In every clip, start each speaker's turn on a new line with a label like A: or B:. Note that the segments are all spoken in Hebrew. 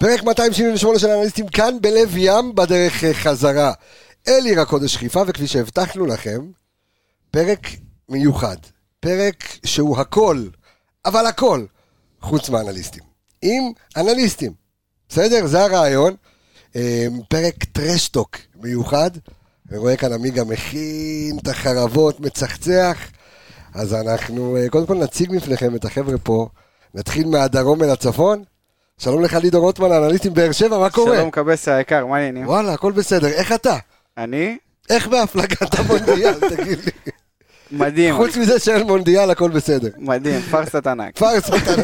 A: פרק 278 של האנליסטים כאן בלב ים בדרך אה, חזרה אל עיר הקודש חיפה, וכפי שהבטחנו לכם, פרק מיוחד. פרק שהוא הכל, אבל הכל, חוץ מאנליסטים. עם אנליסטים, בסדר? זה הרעיון. אה, פרק טרשטוק מיוחד. אני רואה כאן עמיגה מכין את החרבות, מצחצח. אז אנחנו אה, קודם כל נציג בפניכם את החבר'ה פה. נתחיל מהדרום אל הצפון. שלום לך לידור רוטמן, אנליסטים באר שבע, מה קורה?
B: שלום קבסה היקר, מה העניינים?
A: וואלה, הכל בסדר. איך אתה?
B: אני?
A: איך בהפלגת המונדיאל, תגיד לי?
B: מדהים,
A: חוץ מזה שאין מונדיאל, הכל בסדר.
B: מדהים, פארסת ענק.
A: פארס מתנה.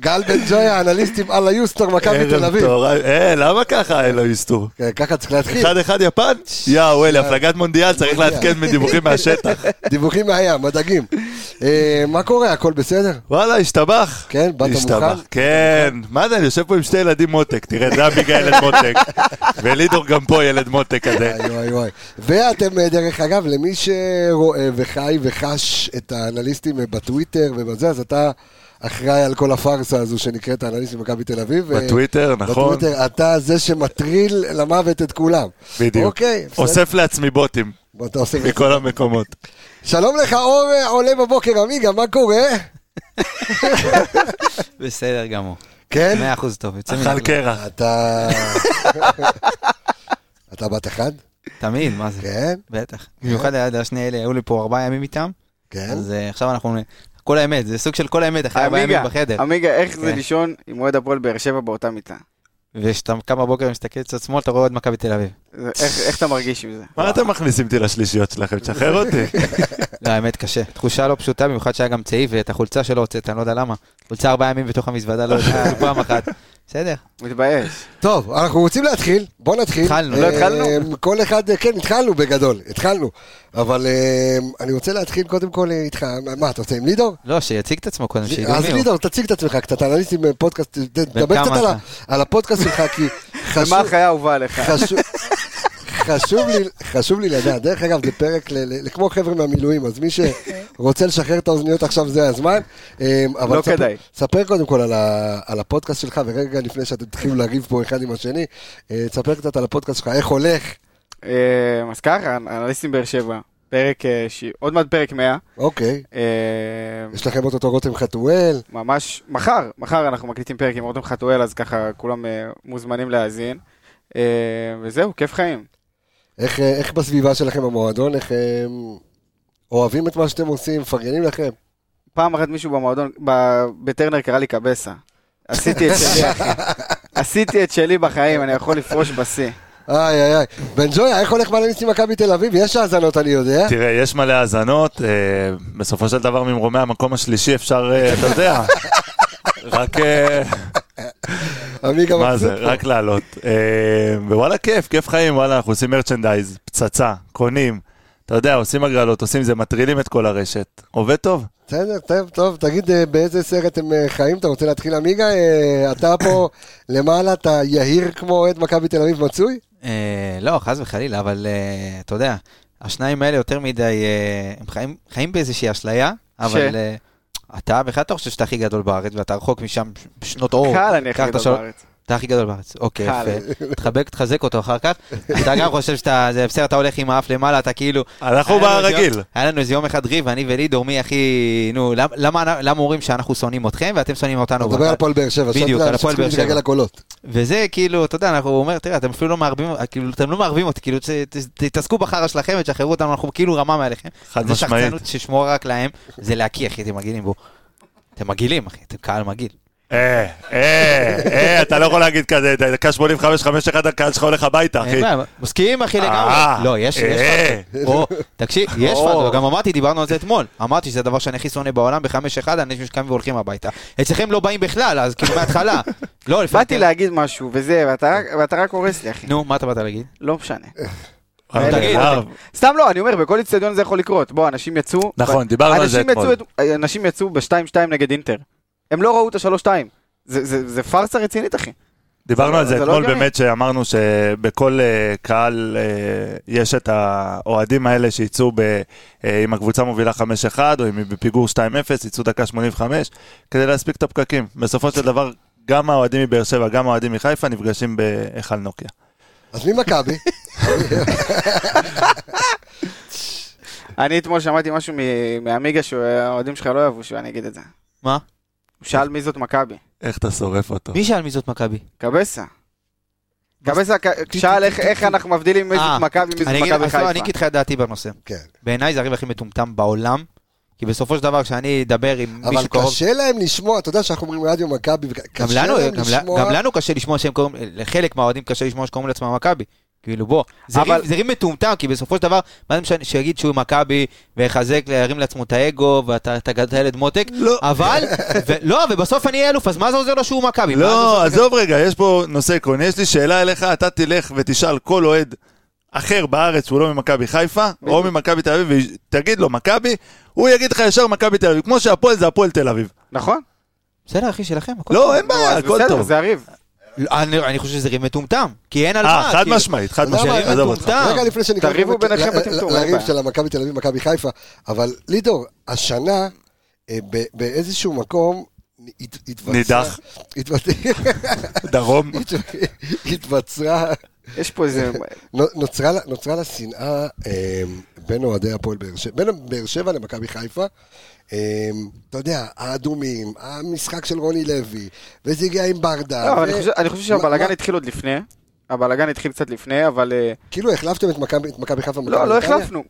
A: גל בן ג'ויה, אנליסטים על היוסטור, מכבי תל אביב.
C: צהריים, אה, למה ככה אין לו איסטור?
A: כן, ככה צריך להתחיל.
C: אחד אחד יפן? יאו, אלי, הפלגת מונדיאל, צריך
A: מונדיאל.
C: לעדכן מדיווחים מהשטח.
A: דיווחים מהים, הדגים. אה, מה קורה, הכל בסדר?
C: וואלה, השתבח.
A: כן, באת
C: השתבח,
A: מוכן?
C: כן. מה זה, אני יושב פה עם שתי ילדים מותק, תראה, זה אביגה ילד מותק. ולידור גם פה ילד מותק כזה.
A: וואי וואי וואי. ואתם, אה, דרך אגב, למי שרואה וחי וחש את האנליסטים אה, בטוויטר ובזה, אז אתה אחראי על כל הפארסה הזו שנקראת האנליסטים במכבי תל אביב. אה,
C: בטוויטר, נכון?
A: בטוויטר, אתה זה שמטריל למוות את כולם.
C: בדיוק.
A: אוקיי, בסדר.
C: אוסף לעצמי בוטים
A: בוא, אתה עושה...
C: מכל המקומות.
A: שלום לך, אור אה, עולה בבוקר, עמיגה, מה קורה?
D: בסדר גמור.
A: כן?
D: מאה אחוז טוב, יוצא מן
C: אכל
D: הכלל.
C: קרח.
A: אתה... אתה בת אחד?
D: תמיד, מה זה?
A: כן,
D: בטח. במיוחד ליד השני אלה, היו לי פה ארבעה ימים איתם,
A: כן.
D: אז אה, עכשיו אנחנו... כל האמת, זה סוג של כל האמת, אחרי ארבעה
B: עמיגה,
D: ימים בחדר.
B: עמיגה, איך זה
D: כן.
B: לישון עם אוהד הפועל באר שבע באותה מיטה?
D: וכשאתה קם בבוקר ומסתכל קצת שמאל, אתה רואה עוד מכבי תל אביב.
B: זה- איך- איך אתה מרגיש עם זה?
C: מה אתם מכניסים אותי לשלישיות שלכם? תשחרר אותי.
A: כן.
D: לא, האמת קשה. תחושה לא פשוטה, במיוחד שהיה גם צעיף, ואת החולצה שלו הוצאת, אני לא יודע למה. חולצה ארבעה ימים בתוך המזוודה, לא יודע, פעם אחת. בסדר.
B: מתבייש.
A: טוב, אנחנו רוצים להתחיל, בוא נתחיל.
D: התחלנו,
B: לא
A: אה,
B: התחלנו?
A: כל אחד, אה, כן, התחלנו בגדול, התחלנו. אבל אה, אני רוצה להתחיל קודם כל אה, איתך, מה, אתה רוצה עם לידור?
D: לא, שיציג את עצמו קודם, שידעו
A: אז
D: מי הוא.
A: לידור, תציג את עצמך קצת, אנליסטים אה, פודקאסט, ת- תדבר
D: כמה
A: קצת על ה-
D: אתה?
A: על הפודקאסט שלך, כי
B: ומה
A: חשוב...
B: החיה האהובה עליך?
A: חשוב- חשוב לי, חשוב לי לדעת, דרך אגב זה פרק ל, ל, ל, כמו חבר'ה מהמילואים, אז מי שרוצה לשחרר את האוזניות עכשיו זה הזמן. אמ, אבל
B: לא
A: ספר-
B: כדאי.
A: ספר קודם כל על, ה, על הפודקאסט שלך, ורגע לפני שאתם תתחילו לריב פה אחד עם השני, אה, תספר קצת על הפודקאסט שלך, איך הולך,
B: אה, אז ככה, אנליסטים באר שבע, פרק, אה, ש- עוד מעט פרק 100.
A: אוקיי, יש לכם אוטוטו רותם חתואל,
B: ממש מחר, מחר אנחנו מקליטים פרק עם רותם חתואל, אז ככה כולם אה, מוזמנים להאזין. אה, וזהו, כיף חיים.
A: איך, אה, איך בסביבה שלכם המועדון, איך אה, אוהבים את מה שאתם עושים, מפרגנים לכם.
B: פעם אחת מישהו במועדון, ב- בטרנר קרא לי קבסה. עשיתי את שלי, אחי. עשיתי את שלי בחיים, אני יכול לפרוש בשיא.
A: איי איי איי, בן ג'ויה, איך הולך באנליסטים מכבי תל אביב? יש האזנות אני יודע.
C: תראה, יש מלא האזנות, אה, בסופו של דבר ממרומי המקום השלישי אפשר, אה, אתה יודע, רק, אה,
A: עמיגה
C: מה
A: מבסוט
C: זה,
A: פה.
C: רק לעלות. אה, ווואלה, כיף, כיף חיים, וואלה, אנחנו עושים מרצ'נדייז, פצצה, קונים, אתה יודע, עושים הגרלות, עושים זה, מטרילים את כל הרשת. עובד טוב?
A: בסדר, טוב, טוב, תגיד אה, באיזה סרט הם אה, חיים, אתה רוצה להתחיל עמיגה? אה, אתה פה למעלה, אתה יהיר כמו אוהד מכבי תל אביב מצוי?
D: אה, לא, חס וחלילה, אבל אה, אתה יודע, השניים האלה יותר מדי, אה, הם חיים- חיים באיזושהי אשליה, אבל אה, אתה בכלל אתה חושב שאתה הכי גדול בארץ, ואתה רחוק משם שנות אור.
B: קהל אני הכי
D: קח את
B: גדול
D: השלוש-
B: בארץ.
D: אתה הכי גדול בארץ, אוקיי,
B: קהל.
D: יפה. תחבק, תחזק אותו אחר כך. אתה גם חושב שאתה, זה בסדר, אתה הולך עם האף למעלה, אתה כאילו...
C: אנחנו
D: היה לנו איזה
C: ברגיל.
D: יום- היה לנו איזה יום אחד ריב, אני ולידור, מי הכי... נו, למ- למה למה אומרים שאנחנו שונאים אתכם ואתם שונאים אותנו?
A: אתה מדבר על הפועל באר שבע,
D: בדיוק,
A: שמת לב
D: על הפועל
A: שצריכים
D: באר שבע.
A: להתגלגל הקולות.
D: וזה כאילו, אתה יודע, אנחנו אומר, תראה, אתם אפילו לא מערבים, כאילו, אתם לא מערבים אותי, כאילו, ת- ת- תתעסקו בחרא שלכם ותשחררו אותנו, אנחנו כאילו רמה מעליכם.
C: חד
D: זה
C: משמעית.
D: שחצנות ששמורה רק להם, זה להקיא, אחי, אתם מגעילים בו. אתם מגעילים, אחי, אתם קהל מגעיל.
C: אה, אה, אה, אתה לא יכול להגיד כזה, דקה 85-51, הקהל שלך הולך הביתה,
D: אין
C: אחי.
D: בעיה, מסכים, אחי,
C: אה,
D: לגמרי. לא, יש, יש
C: אה.
D: פאזל. או, תקשיב, יש
B: או.
D: פאזל, גם אמרתי, דיברנו על זה אתמול. אמרתי שזה הדבר שאני הכי שונא בעולם, בחמש אחד, אנשים שקמים והולכים הביתה. אצלכם לא באים בכלל, אז כאילו מההתחלה. לא, לפעמים...
B: באתי להגיד משהו, וזה, ואתה רק- ואתה רק הורס לי, אחי.
D: נו, מה אתה באת להגיד?
B: לא משנה.
C: אה,
D: תגיד,
C: אה,
B: סתם לא, אני אומר, בכל איצטדיון זה יכול לקרות. בוא, אנשים יצאו...
C: נכון, דיברנו על זה
B: אנשים יצאו
C: אתמול.
B: את- אה, אנשים יצאו ב-2-2 נגד אינטר. הם לא ראו את ה-3-2. זה- זה זה פארסה רצינית, אחי.
C: דיברנו
B: זה
C: על
B: לא-
C: זה
B: זה לא
C: אתמול
B: הגיוני.
C: באמת, שאמרנו שבכל אה, קהל אה, יש את האוהדים האלה שיצאו ב- אה, אם הקבוצה מובילה 5-1 או אם היא בפיגור 2-0, יצאו דקה 85, כדי להספיק את הפקקים. בסופו של דבר, גם האוהדים מבאר שבע, גם האוהדים מחיפה, נפגשים בהיכל נוקיה.
A: אז מי מכבי?
B: אני אתמול שמעתי משהו מ- מעמיגה שהאוהדים שלך לא אהבו שאני אגיד את זה.
D: מה?
B: הוא שאל מי זאת מכבי.
C: איך אתה שורף אותו?
D: מי שאל מי זאת מכבי?
B: קבסה. קבסה ק- שאל איך- איך אנחנו מבדילים מי
D: אה,
B: זאת מכבי ומי זאת
D: אני אגיד
B: מכבי
D: אז לא, אני
B: חיפה.
D: אגיד לך את דעתי בנושא.
A: כן.
D: בעיניי זה הריב הכי מטומטם בעולם, כי בסופו של דבר כשאני אדבר עם
A: אבל
D: מישהו קרוב...
A: קשה להם לשמוע, אתה יודע שאנחנו אומרים רדיו מכבי, וכ-
D: גם
A: קשה
D: לנו,
A: להם
D: גם, ל-
A: לשמוע.
D: גם לנו קשה לשמוע שהם קוראים, לחלק מהאוהדים קשה לשמוע שקוראים לעצמם מכבי. כאילו בוא, זה
B: אבל-
D: ריב- זה ריב מטומטם, כי בסופו של דבר, מה זה משנה שיגיד שהוא מכבי, ויחזק, להרים לעצמו את האגו, ואתה אתה גדל את מותק,
C: לא.
D: אבל, ו- לא, ובסוף אני אהיה אלוף, אז מה זה עוזר לו שהוא מכבי? מה זה עוזר?
C: לא, עזוב רגע, יש פה נושא עקרוני. יש לי שאלה אליך, אתה תלך ותשאל כל אוהד אחר בארץ שהוא לא ממכבי חיפה, או ממכבי תל אביב, ותגיד לו מכבי, הוא יגיד לך ישר מכבי תל אביב, כמו שהפועל זה הפועל תל אביב.
B: נכון?
D: בסדר, אחי, שלכם, הכל
C: לא, אין
B: נו,
C: בעיה,
B: אז
C: הכל
B: בסדר,
C: טוב.
B: זה הריב.
D: לא, אני, אני חושב שזה ריב מטומטם, כי אין על מה.
C: אה, חד
D: כאילו.
C: משמעית, חד
A: אתה יודע
C: משמעית,
A: מה,
C: עזוב
D: מטומטם.
C: אותך.
A: רגע לפני שנקרא
B: תריבו
A: באמת
B: ביניכם
A: ל-
B: בטמטום,
A: ל-
B: אין
A: אה, לריב
B: בעיה.
A: של המכבי תל אביב, מכבי חיפה, אבל לידור, השנה אה, ב- באיזשהו מקום הת- התבצרה...
C: נידח.
A: התבצ-
C: דרום.
A: התבצרה,
B: יש פה איזה...
A: נו- נוצרה לה- נוצרה לה שנאה אה, בין אוהדי הפועל באר שבע, בין באר שבע למכבי חיפה. אה, אתה יודע, האדומים, המשחק של רוני לוי, וזה הגיע עם ברדה.
D: אה,
B: לא, אבל
A: ו-
B: אני חושב- אני חושב
A: מה-
B: שהבלאגן
A: מה-
B: התחיל עוד לפני. הבלאגן התחיל קצת לפני, אבל... אה,
A: כאילו החלפתם את מכבי- את מכבי חיפה.
B: לא,
A: במכבי
B: לא
A: נתניה?
B: החלפנו.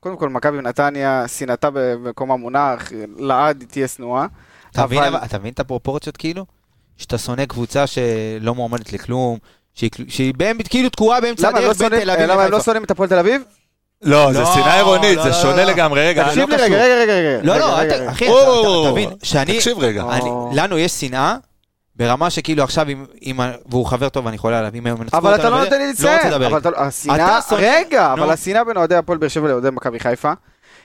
B: קודם כל, מכבי נתניה, שנאתה במקום המונח, לעד היא תהיה שנואה.
D: אתה מבין,
B: אבל-
D: אבל... אתה מבין את הפרופורציות כאילו? שאתה שונא קבוצה שלא מועמדת לכלום, שהיא, שהיא באמת כאילו תקועה באמצע
B: למה הם לא
D: הדרך בין
B: שונאים-
D: תל אביב
B: למה הם לא
D: לחיפה.
B: שונאים את הפועל תל אביב?
C: לא, זה
D: לא,
C: שנאה עירונית,
D: לא,
C: זה
D: לא,
C: שונה
D: לא.
C: לגמרי. רגע,
D: תקשיב
B: תקשיב לי
D: לא
B: רגע,
D: קשור.
B: רגע, רגע, רגע.
D: לא,
B: רגע,
D: לא,
B: רגע,
D: אתה-
B: רגע.
D: אחי,
C: וואו,
D: אתה-
C: וואו,
D: אתה
C: וואו.
D: מבין, שאני,
C: תקשיב רגע.
D: אני-
B: או.
D: לנו יש שנאה. ברמה שכאילו עכשיו, אם- אם ה- והוא חבר טוב, אני חולה עליו, אם היום ינצחו
B: אבל אתה
D: אותנו
B: לא
D: וזה,
B: נותן לי
D: לא רוצה
B: לציין.
D: לדבר.
B: אבל אתה לא- השנאה,
D: שונא-
B: רגע, אבל
D: נו.
B: השנאה בין אוהדי הפועל באר שבע לאוהדי מכבי חיפה,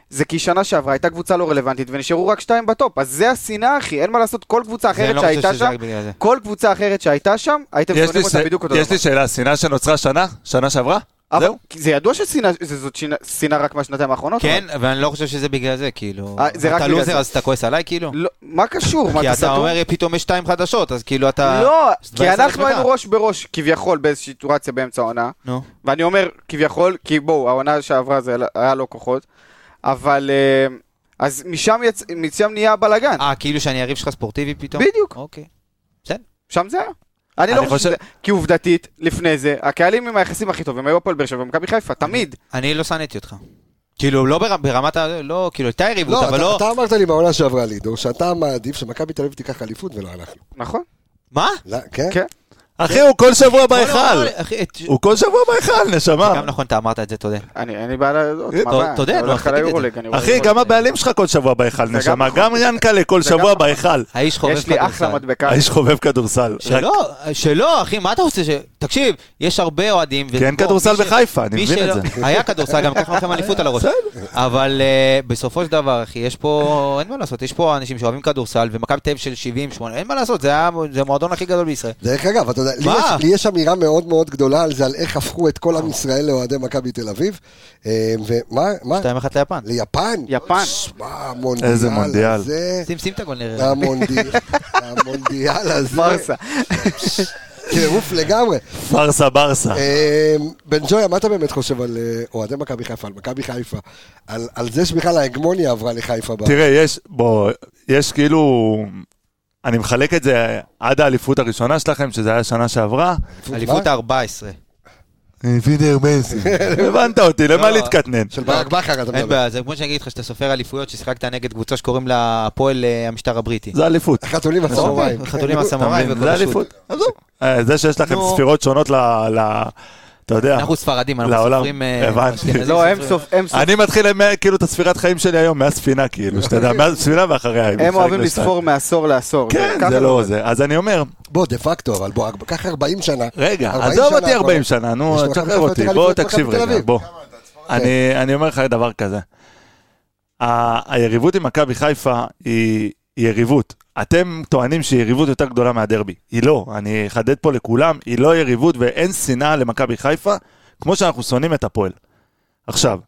B: זה כי שנה שעברה הייתה קבוצה לא רלוונטית ונשארו רק שתיים בטופ. אז זה השנאה, אחי, אין מה לעשות. כל קבוצה
D: זה, אני
B: אחרת
D: לא חושב
B: שהייתה
D: שזה
B: שם,
D: רק בגלל זה.
B: כל קבוצה אחרת שהייתה שם, הייתם
C: יש לי
B: שונאים אותה
C: ש-
B: בדיוק אותו
C: יש
B: דבר.
C: לי שאלה, שנאה שנוצרה שנה? שנה שעברה?
B: אבל-
C: זהו?
B: כי זה ידוע ששנאה- שזאת שנאה- שנאה רק מהשנתיים האחרונות?
D: כן, ואני לא חושב שזה בגלל זה, כאילו.
B: אה, זה רק
D: אתה
B: בגלל
D: לוזר,
B: זה.
D: אז אתה כועס עליי, כאילו?
B: לא, מה קשור? מה,
D: כי אתה
B: סתום?
D: אומר, פתאום יש שתיים חדשות, אז כאילו אתה...
B: לא, כי
D: בעצם
B: אנחנו
D: עצמך.
B: היינו ראש בראש כביכול באיזושהי סיטואציה באמצע העונה,
D: נו.
B: ואני אומר כביכול, כי בואו, העונה שעברה זה היה לו כוחות, אבל אה, אז משם, יצ... משם נהיה הבלאגן,
D: אה, כאילו שאני הריב שלך ספורטיבי פתאום?
B: בדיוק,
D: אוקיי.
B: שם זה היה. אני לא
C: אני
B: חושב שזה, כי עובדתית, לפני זה, הקהלים עם היחסים הכי טובים היו הפועל באר שבע ומכבי חיפה, תמיד.
D: אני לא שנאתי אותך. כאילו, לא בר- ברמת ה... לא, כאילו, הייתה יריבות,
A: לא,
D: אבל
A: אתה,
D: לא...
A: אתה אמרת לי בעונה שעברה לידור, שאתה מעדיף שמכבי תל אביב תיקח אליפות ולא אנחנו.
B: נכון?
D: מה?
A: לא, כן?
B: כן.
C: אחי, הוא כל שבוע בהיכל.
D: לא, לא, אחי, את-
C: הוא כל שבוע בהיכל,
D: זה
C: נשמה.
D: גם נכון, אתה אמרת את זה, תודה.
B: אני, אין לי בעיה לעלות,
D: אה,
B: מה הבעיה?
D: אתה יודע,
B: אני
D: נו,
B: הולך
D: אז
B: על
D: תגיד את זה.
B: היורוליג, אני רואה
C: אחי,
B: יורוליג.
C: גם הבעלים שלך כל שבוע בהיכל,
B: זה
C: נשמה.
B: גם
C: גם ינקלה כל
B: זה גם
C: שבוע
B: נכון.
C: בהיכל.
D: האיש חובב
B: יש לי אחלה
D: כדורסל.
B: מדבקה.
C: האיש חובב כדורסל. רק-
D: שלא, שלא, אחי, מה אתה רוצה ש... תקשיב, יש הרבה אוהדים...
C: כי אין
D: ובוא,
C: כדורסל
D: מי ש-
C: בחיפה, אני
D: מי
C: מבין את
D: שלא-
C: זה.
D: היה כדורסל, גם לקחנו לכם אליפות על הראש. אבל אה, בסופו של דבר, אחי, יש פה, אין מה לעשות, יש פה אנשים שאוהבים כדורסל, ומכבי תל אביב של 70, 80, אין מה לעשות, זה ה- זה המועדון הכי גדול בישראל.
A: דרך אגב, אתה יודע, לי
D: מה?
A: יש, לי יש אמירה מאוד מאוד גדולה על זה, על איך הפכו את כל עם ישראל לאוהדי מכבי תל אביב. אה, ומה, מה?
D: 2-1 ליפן.
A: ליפן?
B: יפן.
A: שמע, המונדיאל
C: איזה מונדיאל.
A: הזה,
D: שים, שים את הגול נראה.
A: המונדיאל, המונדיאל הזה,
B: מרסה.
A: טירוף לגמרי.
C: פרסה ברסה.
A: אה, בן ג'ויה, מה אתה באמת חושב על אה, אוהדי מכבי חיפה, על מכבי חיפה, על- על זה שבכלל ההגמוניה עברה לחיפה?
B: לא.
A: בארץ?
C: תראה, יש, בוא, יש כאילו... אני מחלק את זה עד האליפות הראשונה שלכם, שזה היה שנה שעברה.
D: אליפות ה-14.
C: פידר מנסי. הבנת אותי, למה
D: לא.
C: להתקטנן?
A: של ברק בכר אתה
D: אין
A: מדבר.
D: בעיה, זה כמו שאני אגיד לך שאתה סופר אליפויות ששיחקת נגד קבוצה שקוראים לה הפועל אה, המשטר הבריטי.
C: זה אליפות.
A: החתולים הסמוראים.
D: אוקיי, חתולים הסמוראים
C: אתה מבין?
D: וכל
C: זה
D: השטות.
C: אליפות. עזוב. אה, זה שיש לכם
D: נו.
C: ספירות שונות ל... ל- אתה יודע.
D: אנחנו ספרדים, אנחנו
C: לעולם.
D: סופרים... אה,
C: הבנתי.
D: אשכנזים,
B: לא, הם
D: סופרים-
B: סוף, הם סוף.
C: אני מתחיל עם, אה, כאילו את הספירת חיים שלי היום, מהספינה כאילו, שאתה יודע, מהספינה ואחריה. היא
B: הם
C: מתחלקת
B: אוהבים
C: לשתיים.
B: לספור מעשור לעשור.
C: כן,
B: ככה
C: זה לא זה. אז אני אומר,
A: בוא, דה פקטו, אבל בוא, קח 40 שנה.
C: רגע,
A: 40
C: עזוב
A: שנה
C: אותי 40
A: כבר. לא.
C: שנה,
A: יש
C: נו,
A: לו
C: תשחרר
A: חמש
C: אותי,
A: אליפויות
C: בוא
A: מכבי
C: תקשיב
A: תל
C: רגע,
A: אביב.
C: בוא. אני אני אומר לך דבר כזה, ה- היריבות עם מכבי חיפה היא היא יריבות. אתם טוענים שהיא יריבות יותר גדולה מהדרבי. היא לא, אני אחדד פה לכולם, היא לא יריבות ואין שנאה למכבי חיפה, כמו שאנחנו שונאים את הפועל. עכשיו,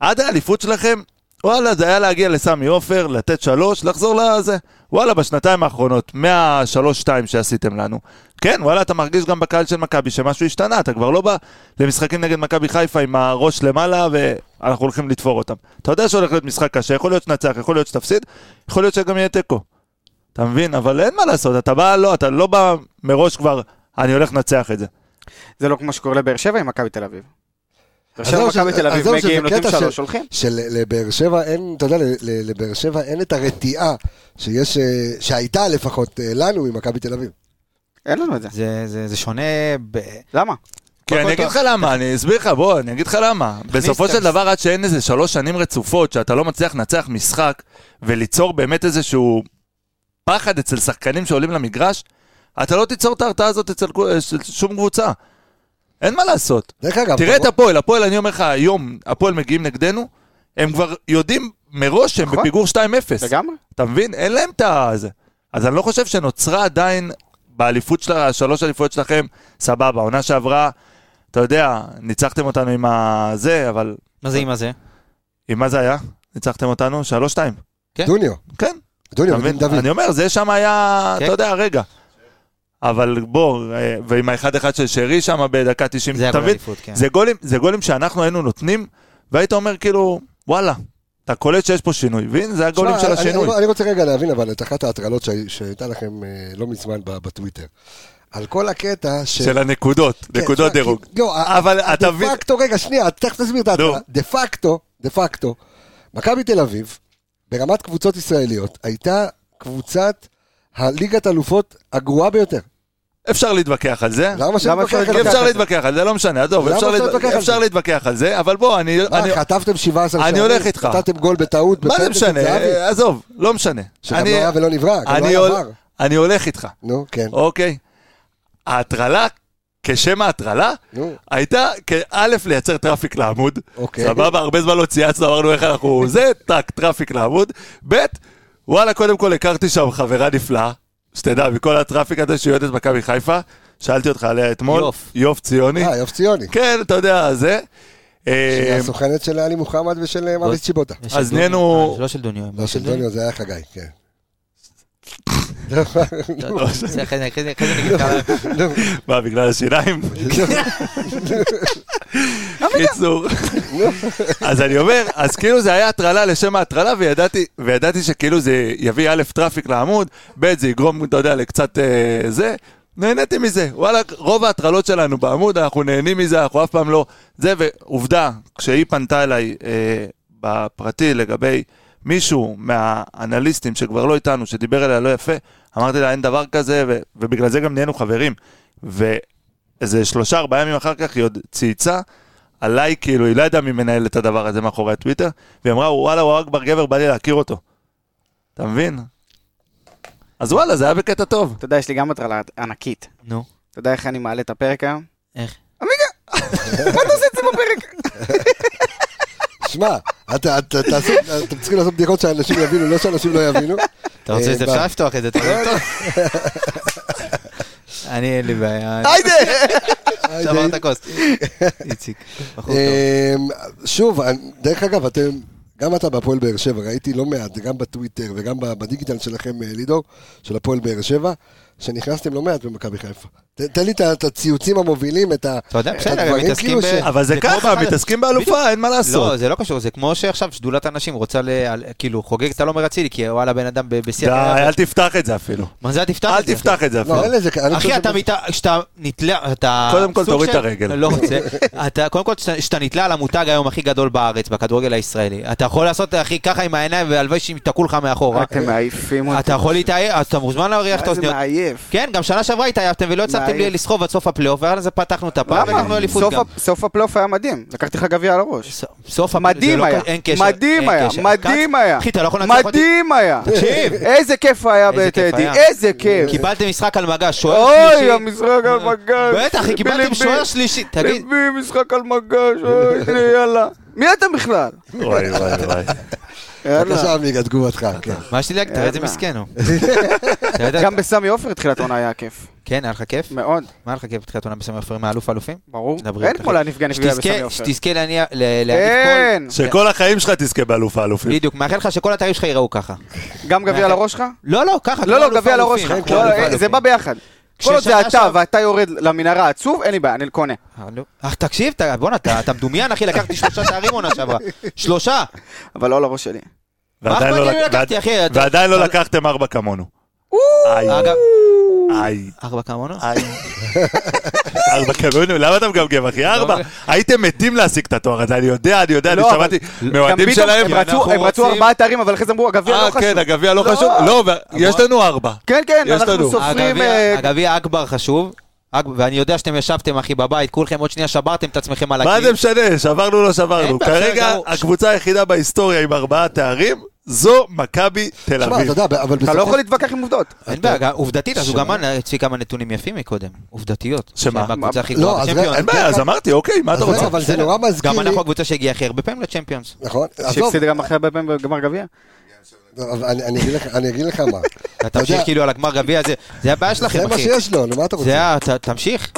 C: עד האליפות שלכם, וואלה, זה היה להגיע לסמי עופר, לתת שלוש, לחזור לזה. וואלה, בשנתיים האחרונות, מהשלוש-שתיים שעשיתם לנו, כן, וואלה, אתה מרגיש גם בקהל של מכבי שמשהו השתנה, אתה כבר לא בא למשחקים נגד מכבי חיפה עם הראש למעלה, ואנחנו הולכים לתפור אותם. אתה יודע שהולך להיות משחק קשה, יכול להיות שנצח, יכול להיות שתפסיד, יכול להיות שגם יהיה תיקו. אתה מבין? אבל אין מה לעשות, אתה בא, לא, אתה לא בא מראש כבר, אני הולך לנצח את זה.
B: זה לא כמו שקורה לבאר שבע עם מכבי תל אביב. באר
A: עזוב
B: שבע ומכבי
A: שזה-
B: תל אביב
A: עזוב שזה
B: מגיעים, נותנים
A: קטע של-
B: שלוש, הולכים.
A: שלבאר שבע אין, אתה יודע, ל- ל- לבאר שבע אין את הרתיעה שיש, אה, שהייתה לפחות אה, לנו עם מכבי תל אביב.
B: אין לנו את זה.
D: זה, זה, זה שונה, ב...
B: למה?
C: כי אני אגיד לך למה, אני אסביר לך, בוא, אני אגיד לך למה. בסופו
D: את
C: של
D: המס-
C: דבר, עד שאין איזה שלוש שנים רצופות, שאתה לא מצליח לנצח משחק, וליצור באמת איזשהו פחד אצל שחקנים שעולים למגרש, אתה לא תיצור את ההרתעה הזאת אצל כל- אצל שום קבוצה. אין מה לעשות.
A: דרך אגב,
C: תראה את
A: ברור-
C: הפועל, הפועל, אני אומר לך, היום הפועל מגיעים נגדנו, הם כבר יודעים מראש שהם
B: נכון.
C: בפיגור 2-0.
B: לגמרי.
C: אתה מבין? אין להם את הזה. אז אני לא חושב שנוצרה עדיין באליפות של השלוש אליפויות שלכם, סבבה, עונה שעברה, אתה יודע, ניצחתם אותנו עם הזה, אבל
D: מה זה עם הזה?
C: עם מה זה היה? ניצחתם אותנו? שלוש שתיים.
A: דוניו,
C: כן,
A: דוניו
C: אתה מבין?
A: ודין דוד.
C: אני אומר, זה שם היה,
D: כן.
C: אתה יודע, רגע. אבל בוא, אה, ועם האחד אחד של שרי שם בדקה 90,
D: זה
C: אתה
D: הגול
C: מבין?
D: אליפות, כן.
C: זה גולים, זה גולים שאנחנו היינו נותנים, והיית אומר כאילו, וואלה, אתה קולט שיש פה שינוי, והנה זה הגולים
A: תשמע,
C: של
A: אני- לא-
C: השינוי.
A: אני- אני רוצה רגע להבין אבל את אחת ההטרלות שהי- שהייתה לכם אה, לא מזמן ב- בטוויטר. על כל הקטע ש...
C: של הנקודות,
A: כן,
C: נקודות
A: תשמע,
C: דירוג.
A: כי- לא, ה-
C: אבל
A: ה-
C: אתה
A: דה
C: מבין-
A: פקטו, רגע, שנייה, תכף תסביר את ההתחלה.
C: נו.
A: דה פקטו, דה פקטו, מכבי תל אביב, ברמת קבוצות ישראליות, הייתה קבוצת הליגת אלופות הגרועה ביותר.
C: אפשר להתווכח על זה.
A: כן. למה שאני
B: למה
A: מתווכח
B: אפשר
A: על זה?
C: אפשר להתווכח על זה, לא משנה, עזוב,
A: למה
C: אפשר
A: אפשר להתווכח על
C: להתווכח- אפשר
A: זה?
C: להתווכח על זה, אבל בוא, אני...
A: מה,
C: אני-
A: חטפתם 17
C: אני
A: שערים?
C: הולך איתך.
A: נתתם גול בטעות?
C: מה זה
A: בפנדל של
C: משנה?
A: זהבי?
C: אה, עזוב, לא משנה.
A: שגם
C: אני-
A: לא היה ולא נברא, גם לא
C: אני
A: היה
C: הול-
A: עבר.
C: אני הולך איתך,
A: נו, כן.
C: אוקיי. ההטרלה, כשם ההטרלה,
A: נו,
C: הייתה כאלף לייצר טראפיק לעמוד.
A: אוקיי.
C: סבבה, הרבה זמן לא צייצנו, אמרנו איך אנחנו... זה, טאק, טראפיק לעמוד. ב', וואלה, קודם כל הכרתי שם חברה נפלאה, שתדע, מכל הטראפיק הזה שהיא אוהדת מכבי חיפה, שאלתי אותך עליה אתמול.
D: יוף.
C: יוף ציוני.
A: אה, יופי ציוני.
C: כן, אתה יודע, זה.
A: שהיא
C: אה,
A: הסוכנת של עלי מוחמד ושל
D: לא-
A: אה, מריס צ'יבוטה.
D: יש של
C: אז
D: דוניו.
C: נהיינו-
D: אה, לא של דוניו.
A: לא, של דוניו זה היה חגי, כן.
D: לא, זה אחרי זה- אחרי זה- אחרי זה נגיד כמה-
A: נו,
C: מה, בגלל השיניים? קיצור. אז אני אומר, אז כאילו זה היה הטרלה לשם ההטרלה, וידעתי, וידעתי שכאילו זה יביא א' טראפיק לעמוד, ב' זה יגרום, אתה יודע, לקצת אה, זה. נהניתי מזה, וואלה, רוב ההטרלות שלנו בעמוד, אנחנו נהנים מזה, אנחנו אף פעם לא... זה, ועובדה, כשהיא פנתה אליי אה, בפרטי לגבי מישהו מהאנליסטים שכבר לא איתנו, שדיבר אליה לא יפה, אמרתי לה, אין דבר כזה, ו- ובגלל זה גם נהיינו חברים. ואיזה שלושה, ארבעה ימים אחר כך היא עוד צייצה עליי, כאילו, היא לא ידעה מי מנהל את הדבר הזה מאחורי הטוויטר, והיא אמרה, וואלה, הוא אכבר גבר, בא לי להכיר אותו. אתה מבין? אז וואלה, זה היה בקטע טוב.
B: אתה יודע, יש לי גם הטרלה ענקית.
D: נו,
B: אתה יודע איך אני מעלה את הפרק היום?
D: איך?
B: מה אתה עושה את זה בפרק?
A: שמע, את- את- תעשו- אתם צריכים לעשות בדיחות שאנשים יבינו, לא שאנשים לא יבינו.
D: אתה רוצה,
A: אה,
D: אפשר
A: ב-
D: לפתוח את זה, אתה יודע? אני, אין לי בעיה.
B: היידה!
A: אה,
D: שבר את הכוס. איציק, בחור טוב.
A: אמ, שוב, אני- דרך אגב, אתם, גם אתה בהפועל באר שבע, ראיתי לא מעט, גם בטוויטר וגם ב- בדיגיטל שלכם, אה, לידור, של הפועל באר שבע, שנכנסתם לא מעט במכבי חיפה. ת- תן לי את ה- את הציוצים המובילים, את ה...
D: אתה יודע, בסדר,
A: הדברים
D: הם מתעסקים
A: כאילו
D: ב...
A: ש-
C: אבל זה
D: כמו
C: ככה,
D: בחג.
C: מתעסקים באלופה, אין מה
D: לא,
C: לעשות.
D: זה לא קשור, זה כמו שעכשיו שדולת הנשים רוצה, ל- על- כאילו, חוגגת את הלומר אצילי, כי וואלה, בן אדם ב- בשיא...
C: די,
D: הקריירה.
C: אל תפתח את זה אפילו.
D: מה זה, אל כן, תפתח
C: אל
D: את זה.
C: תפתח את זה אפילו.
A: לא, אין לזה... כ- אני חושב
D: אחי, אתה
A: שזה-
D: מת... כשאתה נתלה... אתה...
C: קודם כל,
D: סוג
C: תוריד
D: של-
C: את הרגל.
D: לא רוצה. אתה, קודם כל, כשאתה- כשאתה נתלה על המותג היום הכי גדול בארץ, בכדורגל הישראלי, אתה יכול לעשות, אחי, ככה עם העיניים, והלוואי שהם יתקעו לך מאחורה.
B: אתם מעייפים אותי.
D: אתה יכול להתאהב, אז אתה מוזמן להריח את
B: מה זה
D: האוזניות.
B: מעייף?
D: כן, גם שנה שעברה התאהבתם ולא הצלחתם
B: מעייף.
D: לסחוב עד סוף הפלייאוף, ואז פתחנו את הפעם,
B: למה?
D: ולקחנו אליפות
B: סוף
D: גם.
B: ה- סוף הפלייאוף היה מדהים. לקחתי לך גביע על הראש.
D: ס- סוף הפ- זה
B: מדהים
D: לא-
B: היה,
D: אין קשר.
B: מדהים
D: אין
B: היה,
D: קשר.
B: מדהים
D: כץ,
B: היה,
D: אחי, אתה לא יכול לנצח אותי.
B: מדהים היה.
D: תקשיב.
B: איזה כיף היה
D: איזה כיף
B: בטדי,
D: היה.
B: איזה כיף.
D: קיבלתם משחק על מגש, שוער שלישי.
B: כן.
D: אה,
B: אוי, המשחק על מגש.
D: בטח,
B: ליבי,
D: כי קיבלתם
B: ליבי.
D: שוער שלישי. תגיד,
B: ליבי, משחק על מגש, אוי, הנה, יאללה. מי אתם בכלל?
C: וואי וואי וואי.
A: בבקשה, עמיגה, תגובתך. כן.
D: מה יש לי להגיד? תראה איזה
B: יאללה.
D: מסכן הוא. אתה יודע-
B: גם בסמי עופר תחילת עונה היה כיף.
D: כן, היה לך כיף?
B: מאוד,
D: מה היה לך כיף בתחילת עונה בסמי עופר עם האלוף האלופים?
B: ברור.
D: לבריאות,
B: אין כמו
D: אחי.
B: להנפגע נפגע
D: שתזכה-
B: כן, בסמי עופר.
D: שתזכה להניע- ל- להניף קול.
B: כן,
C: שכל החיים שלך תזכה באלוף האלופים.
D: בדיוק, מאחל לך שכל התארים שלך ייראו ככה.
B: גם גביע על הראש שלך?
D: לא, לא, ככה.
B: לא,
D: כמו
B: לא,
D: אלוף
B: גביע על הראש
D: האלופים, כן,
B: שלך.
D: כמו
B: לא,
D: אלוף
B: אה, זה
D: האלופים.
B: בא ביחד. כל עוד זה
D: כששנה
B: אתה
D: שעברה-
B: ואתה יורד למנהרה עצוב, אין לי בעיה, אני קונה.
D: אלוף. אך תקשיב, אתה- בואנה, אתה אתה מדומיין, אחי, לקחתי שלושה תארים עונה שעברה. שלושה.
B: אבל לא על הראש שלי.
D: מה אכפת
C: ועדיין לא
D: לי אם
C: לק- ועד-
D: לקחתי, אחי? אתה-
C: ועדיין לא
D: אבל-
C: לקחתם ארבע כמונו. איי,
D: אגב,
C: איי,
D: ארבע כמונו?
C: איי. ארבע כמונו, למה אתה מגמגם אחי? ארבע.
D: לא.
C: הייתם מתים להשיג את התואר הזה, אני יודע, אני יודע, אני
B: לא, אבל-
C: שמעתי
B: גם
C: מאוהדים
B: פתאום
C: שלהם.
B: הם
C: אה,
B: רצו-
D: אנחנו
B: הם רצו
D: רוצים-
B: ארבעה תארים, אבל אחרי זה אמרו, הגביע לא חשוב.
C: כן, הגביע לא
B: לא.
C: חשוב. לא, ו- יש לנו ארבע.
B: כן, כן,
C: יש לנו.
B: אנחנו סופרים...
D: הגביע-
B: אה,
D: הגביע אכבר חשוב, אכ- ואני יודע שאתם ישבתם, אחי, בבית, כולכם עוד שנייה שברתם את עצמכם על
C: מה
D: הקיר.
C: זה משנה? שברנו, לא
D: אין
C: שברנו.
D: בעיה,
C: כרגע
D: גמור.
C: הקבוצה היחידה בהיסטוריה עם ארבעה תארים, זו מכבי תל
A: תשמע,
C: אביב.
A: אתה יודע, אבל
B: אתה לא
A: בסופו-
B: יכול להתווכח עם עובדות.
D: אין בעיה, גם- עובדתית, אז הוא
A: שמה?
D: גם הציג כמה נתונים יפים מקודם, עובדתיות.
C: שמה?
D: שהם הקבוצה הכי
A: לא,
D: גבוהה
A: אז
D: בצ'מפיונס.
C: אין בעיה, אז אמרתי, אוקיי, מה
A: אז
C: אתה
A: רגע,
C: רוצה?
A: אבל זה
D: בסדר.
A: נורא מזכיר
D: גם
A: לי...
D: אנחנו הקבוצה שהגיעה הכי הרבה פעמים לצ'מפיונס.
A: נכון, עזוב,
B: שהפסיד גם אחרי הרבה פעמים בגמר גביע.
A: אבל אני- אני אגיד לך- אני אגיד לך מה.
D: אתה תמשיך
A: יודע-
D: כאילו על הגמר גביע, זה- זה הבעיה
A: זה
D: שלכם,
A: מה
D: אחי.
A: שיש לו, נו, מה אתה
D: זה
A: רוצה?
D: ה... ת- תמשיך.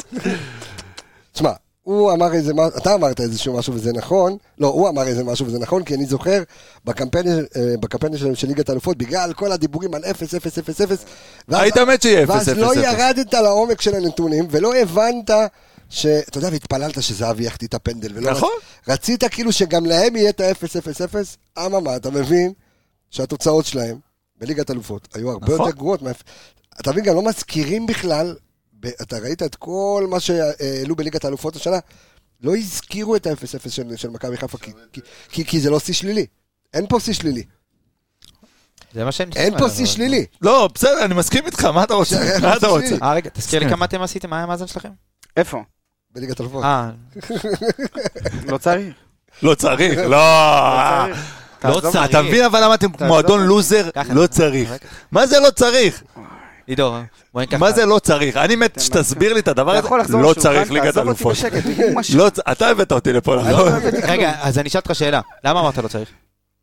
A: תשמע, הוא אמר איזה משהו, אתה אמרת איזשהו משהו וזה נכון, לא, הוא אמר איזה משהו וזה נכון, כי אני זוכר בקמפיין אה, בקמפיין שלהם של ליגת אלופות, בגלל כל הדיבורים על 0, 0, 0, 0, ואז-
C: היית מת שיהיה אפס,
A: ואז
C: אפס,
A: לא
C: אפס.
A: ירדת לעומק של הנתונים, ולא הבנת ש... אתה יודע, והתפללת שזהבי יחטיא את הפנדל, ולא...
C: נכון.
A: רצית כאילו שגם להם יהיה את ה-0, 0, 0, אממה, אתה מבין שהתוצאות שלהם בליגת אלופות היו הרבה
C: נכון.
A: יותר גרועות. מה- אתה מבין, גם לא מזכירים בכלל, ב- אתה ראית את כל מה שהעלו בליגת האלופות השנה, לא הזכירו את ה-0-0 של, של מכבי חיפה, כי, כי, כי, כי זה לא שיא שלילי. אין פה שיא שלילי.
D: זה מה שאני...
A: אין
D: מסכים
A: פה
D: עליו,
A: שיא
D: אבל-
A: שלילי.
C: לא, בסדר, אני מסכים איתך, מה אתה רוצה?
A: זה- לא
C: מה אתה רוצה?
D: אה, רגע, תזכיר לי כמה אתם עשיתם, מה היה המאזן שלכם?
B: איפה?
A: בליגת אלופות.
D: אה,
B: לא צריך.
C: לא צריך, לא.
B: לא צריך.
D: לא
B: תעזוב.
D: צריך.
C: אתה מבין אבל למה
A: לא
C: אתם
B: תעזוב.
C: מועדון לוזר?
D: ככה.
C: לא צריך.
D: רגע.
C: מה זה לא צריך?
D: עידו, בוא ניקח...
C: מה זה לא צריך? אני מת שתסביר לי את הדבר
B: אתה
C: הזה.
B: יכול לחזור
C: לא
B: לשולחן,
C: צריך ליגת
B: תעזוב אותי
C: אלופות.
B: בשקט, תגיד מה ש-
C: לא צ- אתה הבאת אותי לפה,
B: לא
C: נכון?
D: רגע, אז אני אשאל אותך שאלה. למה אמרת לא צריך?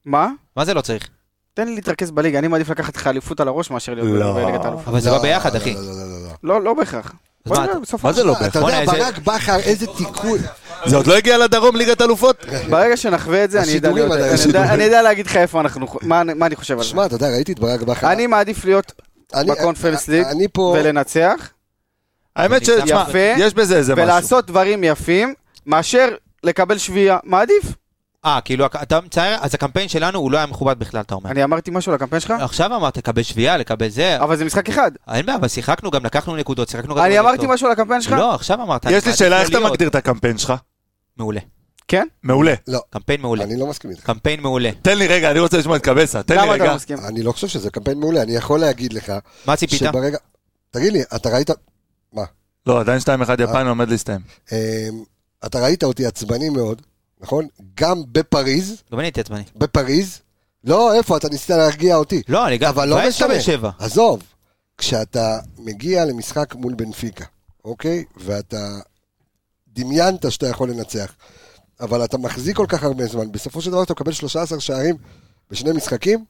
B: מה?
D: מה זה לא צריך?
B: תן לי להתרכז בליגה, אני מעדיף לקחת לך אליפות על הראש מאשר להיות
C: לא.
B: בליגת האלופות.
D: אבל זה
A: לא,
D: בא ביחד,
A: לא,
D: אחי.
A: לא, לא, לא, לא.
B: לא, לא בהכרח.
D: אז מה
B: בוא
D: אתה-
B: נראה, בסוף
C: מה זה לא
A: אה, אתה
C: בהכרח?
A: יודע,
D: בואנה, איזה-
A: ברק בכר, איזה תיקון.
C: זה עוד לא הגיע לדרום ליגת אלופות?
B: ברגע שנחווה את זה, אני יודע
A: השידורים
B: להיות-
A: עדיין,
B: אני יודע-
A: השידורים.
B: אני יודע להגיד לך איפה אנחנו, מה מה אני חושב על זה.
A: שמע, אתה יודע, ראיתי את ברק בכר.
B: אני מעדיף להיות
A: אני-
B: בקונפרנס
A: אני-
B: ליג
A: אני פה...
B: ולנצח,
C: האמת ש... תשמע,
B: יפה.
C: יש בזה איזה משהו.
B: ולעשות דברים יפים, מאשר לקבל שביעייה. מעדיף.
D: אה, כאילו, אתה מצייר, אז הקמפיין שלנו הוא לא היה מכובד בכלל, אתה אומר.
B: אני אמרתי משהו לקמפיין שלך,
D: עכשיו אמרת, לקבל שביעייה, לקבל זה.
B: אבל זה משחק אחד.
D: אין בעיה, אבל שיחקנו גם, לקחנו נקודות, שיחקנו גם...
B: אני אמרתי משהו לקמפיין שלך?
D: לא, עכשיו אמרת. אני
C: יש לי
D: מעדיף
C: שאלה,
D: לא
C: איך אתה
D: להיות.
C: מגדיר את הקמפיין שלך?
D: מעולה.
B: כן?
C: מעולה.
D: קמפיין מעולה.
A: אני לא מסכים איתך.
D: קמפיין מעולה.
C: תן לי רגע, אני רוצה לשמוע את קבסה. תן לי
B: למה אתה
C: רגע.
B: לא מסכים?
A: אני לא חושב שזה קמפיין מעולה, אני יכול להגיד לך
D: מה ציפית?
A: שברגע... תגיד לי, אתה ראית...
C: לא, עדיין 2-1 יפן עומד להסתיים.
A: אמ, אתה ראית אותי עצבני מאוד, נכון? גם בפריז,
D: גם אני הייתי עצבני.
A: בפריז. לא, איפה? אתה ניסית להרגיע אותי.
D: לא, אני גם...
A: אבל לא
D: היה
A: משנה.
D: שתיים שבע.
A: עזוב, כשאתה מגיע למשחק מול בנפיקה, אוקיי? ואתה דמיינת שאתה יכול לנצח, אבל אתה מחזיק כל כך הרבה זמן, בסופו של דבר אתה מקבל 13 שערים בשני משחקים,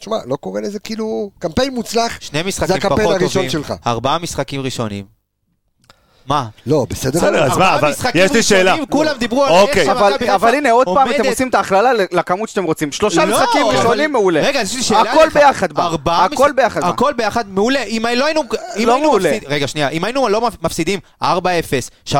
A: תשמע, לא קורא לזה כאילו קמפיין מוצלח.
D: שני
A: זה
D: משחקים פחות
A: הקמפיין
D: טובים.
A: הראשון שלך.
D: ארבעה משחקים ראשונים. מה?
A: לא, בסדר?
C: בסדר, אז מה,
D: ארבעה
C: אבל
D: משחקים
C: יש לי שאלה.
D: ראשונים, כולם דיברו על
C: אוקיי.
D: איך
B: אבל-
D: שמכבי חיפה
B: אבל הנה, עוד פעם אתם
D: עומדת-
B: עושים את ההכללה לכמות שאתם רוצים. שלושה
D: לא,
B: משחקים
D: אבל-
B: ראשונים מעולה.
D: רגע, יש לי שאלה
B: הכל ביחד בא.
D: ארבעה
B: הכל
D: מש-
B: ביחד בא.
D: הכל ביחד מעולה. אם לא היינו... אם
B: לא
D: היינו
B: מעולה.
D: מפסיד- רגע, שנייה. אם היינו לא מפ- מפסידים 4-0, 3-1,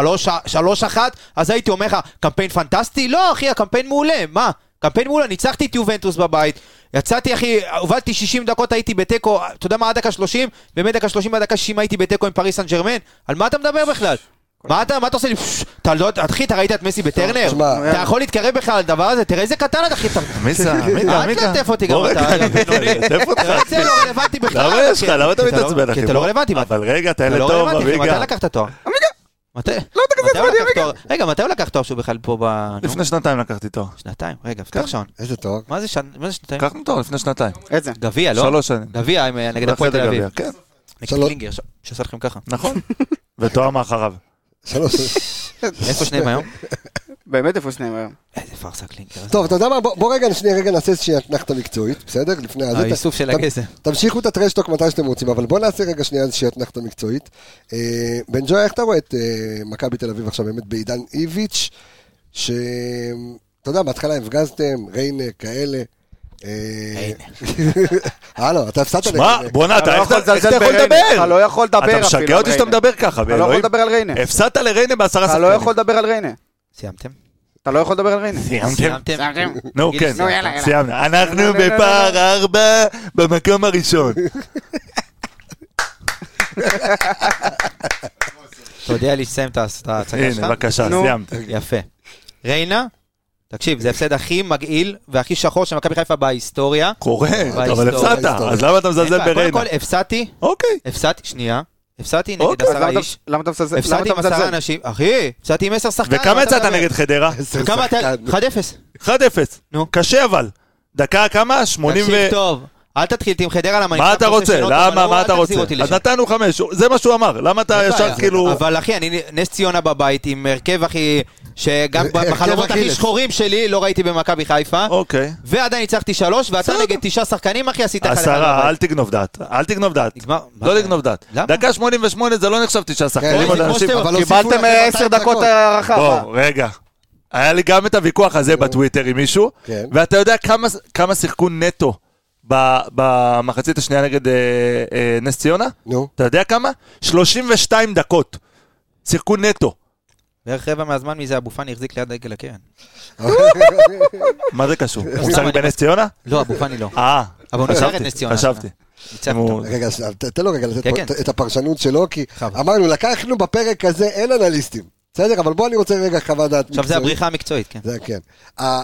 D: אז הייתי אומר לך, קמפיין פנטסטי? לא, אחי, הקמפיין מעולה. מה? קמפיין מעולה, ניצחתי את יובנטוס בבית. יצאתי, אחי, הובלתי 60 דקות, הייתי בתיקו, אתה יודע מה, עד דקה 30? באמת דקה 30 עד דקה 60 הייתי בתיקו עם פריס סן ג'רמן? על מה אתה מדבר בכלל? מה אתה, מה אתה עושה לי? פשש, אתה לא, אחי, אתה ראית את מסי בטרנר?
A: תשמע.
D: אתה יכול להתקרב בכלל לדבר הזה? תראה איזה קטן אתה, אחי, אתה...
C: מיסה,
D: אל תלטף אותי גם אתה, יא
C: לא
D: בינוני.
C: תלטף אותך.
D: זה לא רלוונטי בכלל.
C: למה יש לך? למה אתה
D: כי לא-
C: מתעצבן, אחי?
D: כי אתה לא
C: בוא.
D: רלוונטי. מה-
C: אבל רגע, אתה
D: אתה
C: ילד
D: לא
C: טוב,
D: רלוונטי, אחי, מתי
C: אביגה.
D: לקחת תואר?
B: עמיגה.
D: מתי?
B: לא, אתה כזה
D: מתי הוא
B: עצבני,
D: לקח תואר? רגע, מתי הוא לקח תואר שהוא בכלל פה ב... נו,
C: לפני שנתיים לקחתי תואר.
D: שנתיים, רגע, פתח שעון.
A: איזה תואר.
D: מה זה שנ- מה זה
B: כן.
D: שנתיים?
C: לקחנו תואר לפני שנתיים.
B: איזה?
D: גביע, לא?
C: שלוש שנים.
D: גביע עם, אה, נגד
C: ואחרי
D: הפועל
C: זה
D: תל אביב.
C: גביע, כן,
D: נגד
A: שלוש.
D: קלינגר, ש- שעשה לכם ככה.
C: נכון. ותואר מאחריו.
A: שלוש.
D: איפה שניהם היום?
B: באמת איפה שניהם היום.
D: איזה פארסה קלינקר.
A: טוב, אתה יודע מה? בוא- בוא רגע, שנייה, רגע נעשה איזושהי אתנחתה מקצועית, בסדר? לפני הזה.
D: האיסוף אה, של
A: ת-
D: הכסף.
A: תמשיכו את הטרשטוק מתי שאתם רוצים, אבל בואו נעשה רגע שנייה איזושהי אתנחתה מקצועית. אה, בן ג'וי, איך אתה רואה את אה, מכבי תל אביב עכשיו באמת בעידן איביץ', שאתה יודע, בהתחלה הפגזתם, ריינה, כאלה. אה, הלו, אתה הפסדת
C: שמע,
A: לריינה.
C: בואנה,
B: אתה
C: אתה
B: לא
C: איך
B: יכול
C: אתה איך אתה
B: לזלזל
C: יכול
B: בריינה.
C: לדבר?
B: אתה לא יכול לדבר
C: אתה
B: אפילו
C: משגע אותי
B: על
C: שאתה
B: ריינה.
C: מדבר ככה,
B: אתה לא יכול
C: באלוהים.
B: לדבר על ריינה.
C: הפסדת לריינה בעשרה
B: אתה
C: שחקנים.
B: לא יכול לדבר על ריינה.
D: סיימתם?
B: אתה לא יכול לדבר על ריינה.
C: סיימתם?
B: סיימתם?
C: נו,
D: תגיד,
C: כן,
D: נו,
B: יאללה, יאללה.
C: סיימנו. אנחנו
B: נו, נו, נו, נו.
C: בפער ארבע במקום הראשון.
D: תודיע לי שתסיים את ה- את ההצגה שלך.
C: הנה, בבקשה,
B: נו.
C: סיימתי.
D: יפה. ריינה, תקשיב, זה ההפסד הכי מגעיל והכי שחור של מכבי חיפה בהיסטוריה.
C: קורה, אבל
D: בהיסטוריה,
C: הפסדת,
A: בהיסטוריה.
C: אז למה אתה
D: אין
C: מזלזל
D: בעיה, קודם
C: בריינה?
D: כל, הפסדתי,
C: אוקיי.
D: הפסדתי, שנייה, הפסדתי נגד
C: אוקיי,
B: אז
D: עשרה
B: למה אתה-
D: איש.
B: למה אתה מזלזל? למה
D: הפסדתי
B: אתה
D: עם עשרה
B: מזלזל?
D: אנשים. אחי, הפסדתי עם עשר שחקנים.
C: וכמה
D: מה אתה
C: יצאת
D: מדבר?
C: נגד חדרה?
D: כמה אתה?
A: שחקן.
D: 1-0.
C: 1-0.
D: נו.
C: קשה אבל. דקה כמה? 80 ו...
D: תקשיב טוב, אל תתחיל עם חדרה, למה אני
C: מה
D: חייב
C: אתה
D: לעשות
C: רוצה?
D: שנות, אבל
C: למה?
D: הוא,
C: מה
D: אל
C: אתה רוצה?
D: תחזיר אותי
C: אז
D: לשם.
C: נתנו חמש, זה מה שהוא אמר. למה אתה
D: אין
C: ישר
D: בעיה.
C: כאילו...
D: אבל אחי, אני נס ציונה בבית עם הרכב הכי... שגם
A: הרכב
D: בחלומות הכי
A: אכילס.
D: שחורים שלי לא ראיתי במכבי חיפה.
C: אוקיי.
D: ועדיין ניצחתי שלוש, ואתה
C: בסדר.
D: נגד תשעה שחקנים, אחי, עשית אחד אחד.
C: עשרה, אל
D: בבית.
C: תגנוב דעת. אל תגנוב דעת.
D: נגמר.
C: לא
D: מה?
C: לגנוב דעת.
D: למה?
C: דקה 88 זה לא נחשב תשעה
A: כן,
C: שחקנים. עוד
D: זה כמו
C: אנשים-
D: שאתם-
A: אבל הוסיפו
B: קיבלתם
A: לכם
B: 10
A: 200
B: דקות הערכה.
C: בוא, רגע. היה לי גם את הוויכוח הזה בטוויטר עם מישהו,
A: כן.
C: ואתה יודע כמה- כמה שיחקו נטו ב- במחצית השנייה נגד אה, אה, נס ציונה?
A: נו.
C: אתה יודע כמה? 32 דקות. שיחקו נטו.
D: בערך רבע מהזמן מזה אבו פאני החזיק ליד דגל הקרן.
C: מה זה קשור? הוא שחק בנס ציונה?
D: לא, אבו פאני לא.
C: אה,
D: אבל הוא נשאר את
C: חשבתי,
D: נס ציונה.
C: חשבתי.
D: ניצח
C: אם הוא-
D: אותו.
A: רגע, שנייה, ת- תן לו רגע לתת
D: כן,
A: פה
D: כן.
A: את- את הפרשנות שלו, כי
D: בכבוד.
A: אמרנו, לקחנו בפרק הזה, אין אנליסטים. בסדר, אבל בוא אני רוצה רגע חוות דעת
D: עכשיו זה
A: מקצועית.
D: הבריחה המקצועית, כן.
A: זה כן. ה-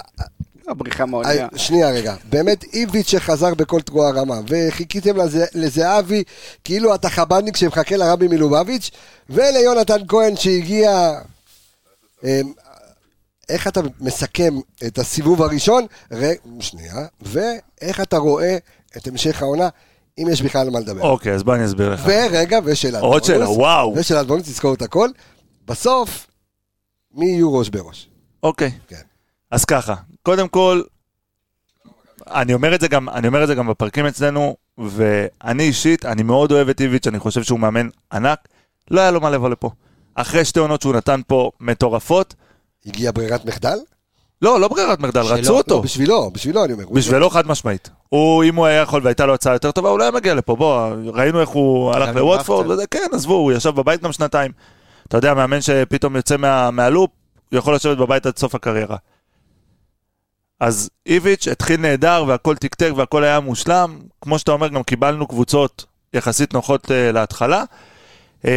B: הבריחה לא, מאוד.
A: אה, שנייה רגע, באמת איביץ' שחזר בכל תרועה רמה, וחיכיתם לזה- לזהבי, כאילו אתה חב"דניק שמחכה לרבי מלובביץ', וליונתן כהן שהגיע... אה, איך אתה מסכם את הסיבוב הראשון, ר... שנייה, ואיך אתה רואה את המשך העונה, אם יש בכלל על מה לדבר.
C: אוקיי, אז בוא אני אסביר לך.
A: ורגע, ושאלת
C: עוד שאלה, וואו.
A: ושאלת בונוס, תזכור את הכל. בסוף, מי יהיו ראש בראש?
C: אוקיי.
A: כן.
C: אז ככה, קודם כל, אני אומר את זה גם, אני אומר את זה גם בפרקים אצלנו, ואני אישית, אני מאוד אוהב את איביץ', אני חושב שהוא מאמן ענק, לא היה לו מה לבוא לפה. אחרי שתי עונות שהוא נתן פה מטורפות,
A: הגיעה ברירת מחדל?
C: לא, לא ברירת מחדל,
D: שלא,
C: רצו
A: לא,
C: אותו.
A: בשבילו, בשבילו אני אומר. הוא-
C: בשבילו חד משמעית. הוא, אם הוא היה יכול והייתה לו הצעה יותר טובה, הוא לא היה מגיע לפה. בוא, ראינו איך הוא
D: גם
C: הלך
D: עם
C: לווטפורד,
D: בכר.
C: וזה, כן, עזבו, הוא ישב בבית גם שנתיים. אתה יודע, מאמן שפתאום יוצא מה, מהלופ, הוא יכול לשבת בבית עד סוף הקריירה. אז איביץ' התחיל נהדר והכל תקתק והכל היה מושלם. כמו שאתה אומר, גם קיבלנו קבוצות יחסית נוחות אה, להתחלה. אה,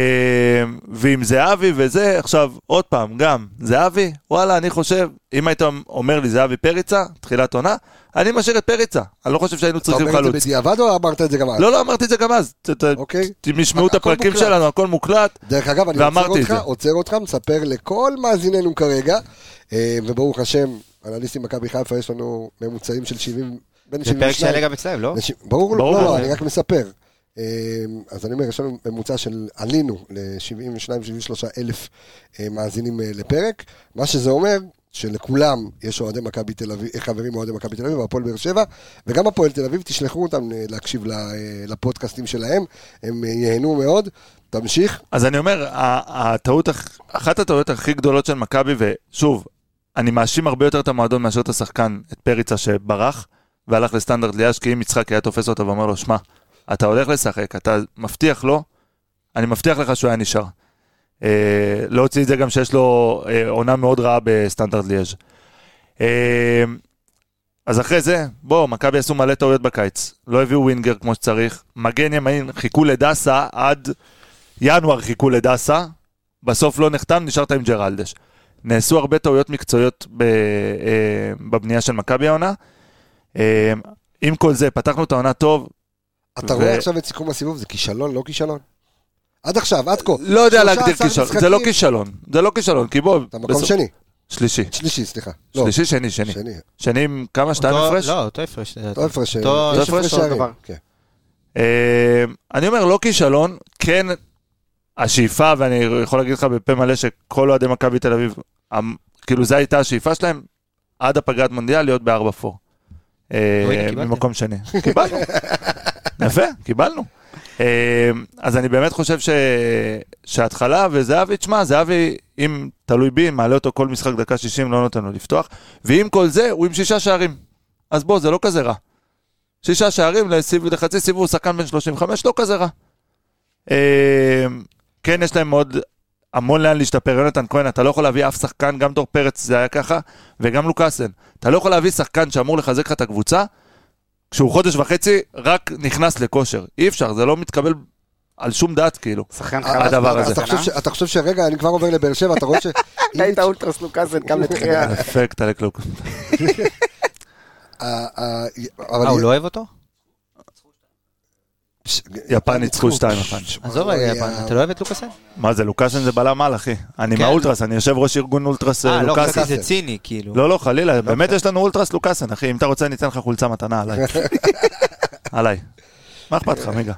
C: ועם זהבי וזה, עכשיו, עוד פעם, גם זהבי, וואלה, אני חושב, אם היית אומר לי זהבי פריצה, תחילת עונה, אני משאיר את פריצה. אני לא חושב שהיינו
A: אתה
C: צריכים
A: אומר את
C: חלוץ.
A: זה בדיעבד או אמרת את זה גם אז?
C: לא, לא, אמרתי את זה גם אז. ת- ת-
A: אוקיי.
C: תשמעו את
A: הכל
C: הפרקים
A: מוקלט.
C: שלנו, הכל מוקלט.
A: דרך אגב, אני עוצר
C: ואמרתי את
A: אותך,
C: זה.
A: עוצר אותך, מספר לכל מאזיננו כרגע, אה, וברוך השם, אנליסטים מכבי חיפה, יש לנו ממוצעים של 70, בין
D: זה פרק
A: 72.
D: שיעלה גם אצלם, לא?
A: אנשים- ברור,
C: ברור.
A: לא, לא, אני רק מספר. אה, אז אני אומר, יש לנו ממוצע של, עלינו ל-72-73 אלף אה, מאזינים אה, לפרק, מה שזה אומר שלכולם יש אוהדי מכבי תל אביב, אה, חברים אוהדי מכבי תל אביב, והפועל באר שבע, וגם הפועל תל אביב, תשלחו אותם אה, להקשיב ל- אה, לפודקאסטים שלהם, הם אה, ייהנו מאוד. תמשיך,
C: אז אני אומר, ה- הטעות, הכ- אחת הטעויות הכי גדולות של מכבי, ושוב, אני מאשים הרבה יותר את המועדון מאשר את השחקן, את פריצה שברח, והלך לסטנדרט ליאש, כי אם יצחק היה תופס אותו ואומר לו, שמע, אתה הולך לשחק, אתה מבטיח לו, אני מבטיח לך שהוא היה נשאר. אה, לא הוציא את זה גם שיש לו אה, עונה מאוד רעה בסטנדרט ליאז'. אה, אז אחרי זה, בואו, מכבי עשו מלא טעויות בקיץ. לא הביאו ווינגר כמו שצריך. מגן ימין, חיכו לדסה עד ינואר חיכו לדסה, בסוף לא נחתם, נשארת עם ג'רלדש. נעשו הרבה טעויות מקצועיות ב, אה, בבנייה של מכבי העונה. אה, עם כל זה, פתחנו את העונה טוב.
A: אתה
C: ו-
A: רואה עכשיו את סיכום הסיבוב, זה כישלון, לא כישלון? עד עכשיו, עד כה.
C: לא יודע להגדיר
A: 13
C: כישלון, זה
A: משחקים.
C: לא כישלון, זה לא כישלון, כי בוא,
A: אתה מקום שני,
C: שלישי,
A: שלישי, סליחה. לא,
C: שלישי, שני, שני.
A: שני.
C: שני עם כמה, שתיים
D: אותו-
C: הפרש?
D: לא, אותו הפרש.
A: אותו הפרש, כן. אה,
D: אותו-
A: יש
C: אותו הפרש,
A: הפרש
B: אותו
A: שערים.
B: דבר.
A: כן.
C: אה, אני אומר, לא כישלון, כן השאיפה, ואני יכול להגיד לך בפה מלא שכל אוהדי מכבי תל אביב, המ- כאילו זו הייתה השאיפה שלהם, עד הפגרת מונדיאל להיות בארבע פור. אה,
D: הנה, קיבלתם.
C: ממקום שני. קיבלנו. יפה, קיבלנו. אה, אז אני באמת חושב ש... שההתחלה, וזהבי, תשמע, זהבי, אם תלוי בי, מעלה אותו כל משחק דקה 60, לא נותן לו לפתוח, ועם כל זה, הוא עם שישה שערים. אז בוא, זה לא כזה רע. שישה שערים לסיב... לחצי סיבוב, שחקן בן 35, לא כזה רע. אה, כן, יש להם עוד המון לאן להשתפר. יונתן כהן, אתה לא יכול להביא אף שחקן, גם דור פרץ זה היה ככה, וגם לוקאסן. אתה לא יכול להביא שחקן שאמור לחזק לך את הקבוצה, כשהוא חודש וחצי רק נכנס לכושר. אי אפשר, זה לא מתקבל על שום דעת, כאילו.
B: שחקן
A: אה,
B: חלש.
C: הדבר
B: מאוד
C: הזה.
A: אתה
B: השנה.
A: חושב ש- אתה חושב שרגע, אני כבר עובר לבאר שבע, אתה רואה ש...
B: היית אולטרס לוקאסן, גם
C: אה,
B: לתחייה.
C: אפקט על הקלוק.
A: אה, אה, אבל-
D: אה, הוא לא אוהב אותו?
A: ש-
C: יפן ניצחו 2-1.
D: עזוב רגע,
A: אה,
D: יפן, אתה לא אוהב את לוקאסן?
C: מה זה, לוקאסן זה בלם על, אחי. אני
D: כן.
C: מהאולטרס, אני יושב ראש ארגון אולטרס אה,
D: אה, לא,
C: לוקאסן.
D: חשבתי שזה ציני, כאילו.
C: לא, לא, חלילה, באמת יש לנו אולטרס לוקאסן, אחי. אם אתה רוצה, אני אתן לך חולצה מתנה עליי. עליי. מה אכפת לך, מיגה?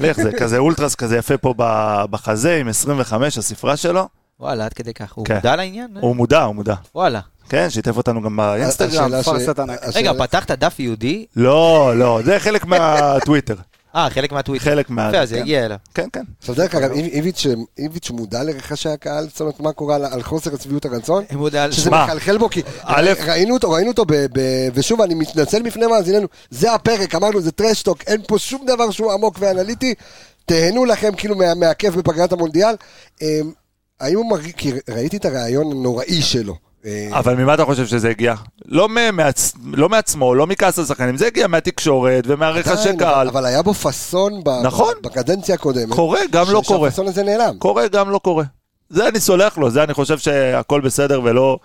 C: לך, זה כזה אולטרס כזה יפה פה ב- בחזה, עם 25, הספרה שלו.
D: וואלה, עד כדי כך. הוא
C: כן.
D: מודע לעניין?
C: הוא מודע, הוא מודע.
D: וואלה.
C: כן, שיתף אותנו גם באינסטגרם.
A: אה, השאלה ש-
B: פרסת ענק.
A: השאלה-
D: רגע, פתחת דף יהודי?
C: לא, לא, זה חלק מהטוויטר.
D: אה, חלק מהטוויטר.
C: חלק מה...
D: יפה, אז
C: כן.
D: יגיע אליו.
C: כן, כן.
A: אתה יודע, ככה, איב- איביץ' איביץ' מודע לרחשי הקהל? זאת אומרת, מה קורה על- על חוסר הצביעות הרצון?
D: הוא מודע על...
A: שזה
C: שמע,
A: מחלחל בו, כי
C: א',
A: ראינו אותו, ראינו אותו, ב- ב- ושוב, אני מתנצל בפני מאזיננו, זה הפרק, אמרנו, זה טרשטוק, אין פה שום דבר שהוא עמוק ואנליטי, תהנו לכם כאילו מה- מהכיף בפגרת המונדיאל. אמ, האם הוא מרגיש, כי ראיתי את הריאיון הנוראי שלו. אה,
C: אבל ממה אתה חושב שזה הגיע? לא מ- מעצ- לא מעצמו, לא מכעס על שחקנים, זה הגיע מהתקשורת ומהרחשי
A: עדיין,
C: קהל.
A: אבל היה בו פאסון ב-
C: נכון.
A: בקדנציה הקודמת.
C: קורה, גם לא
A: ש-
C: קורה.
A: שהפאסון הזה נעלם.
C: קורה, גם לא קורה. זה אני סולח לו, זה אני חושב שהכל בסדר ולא...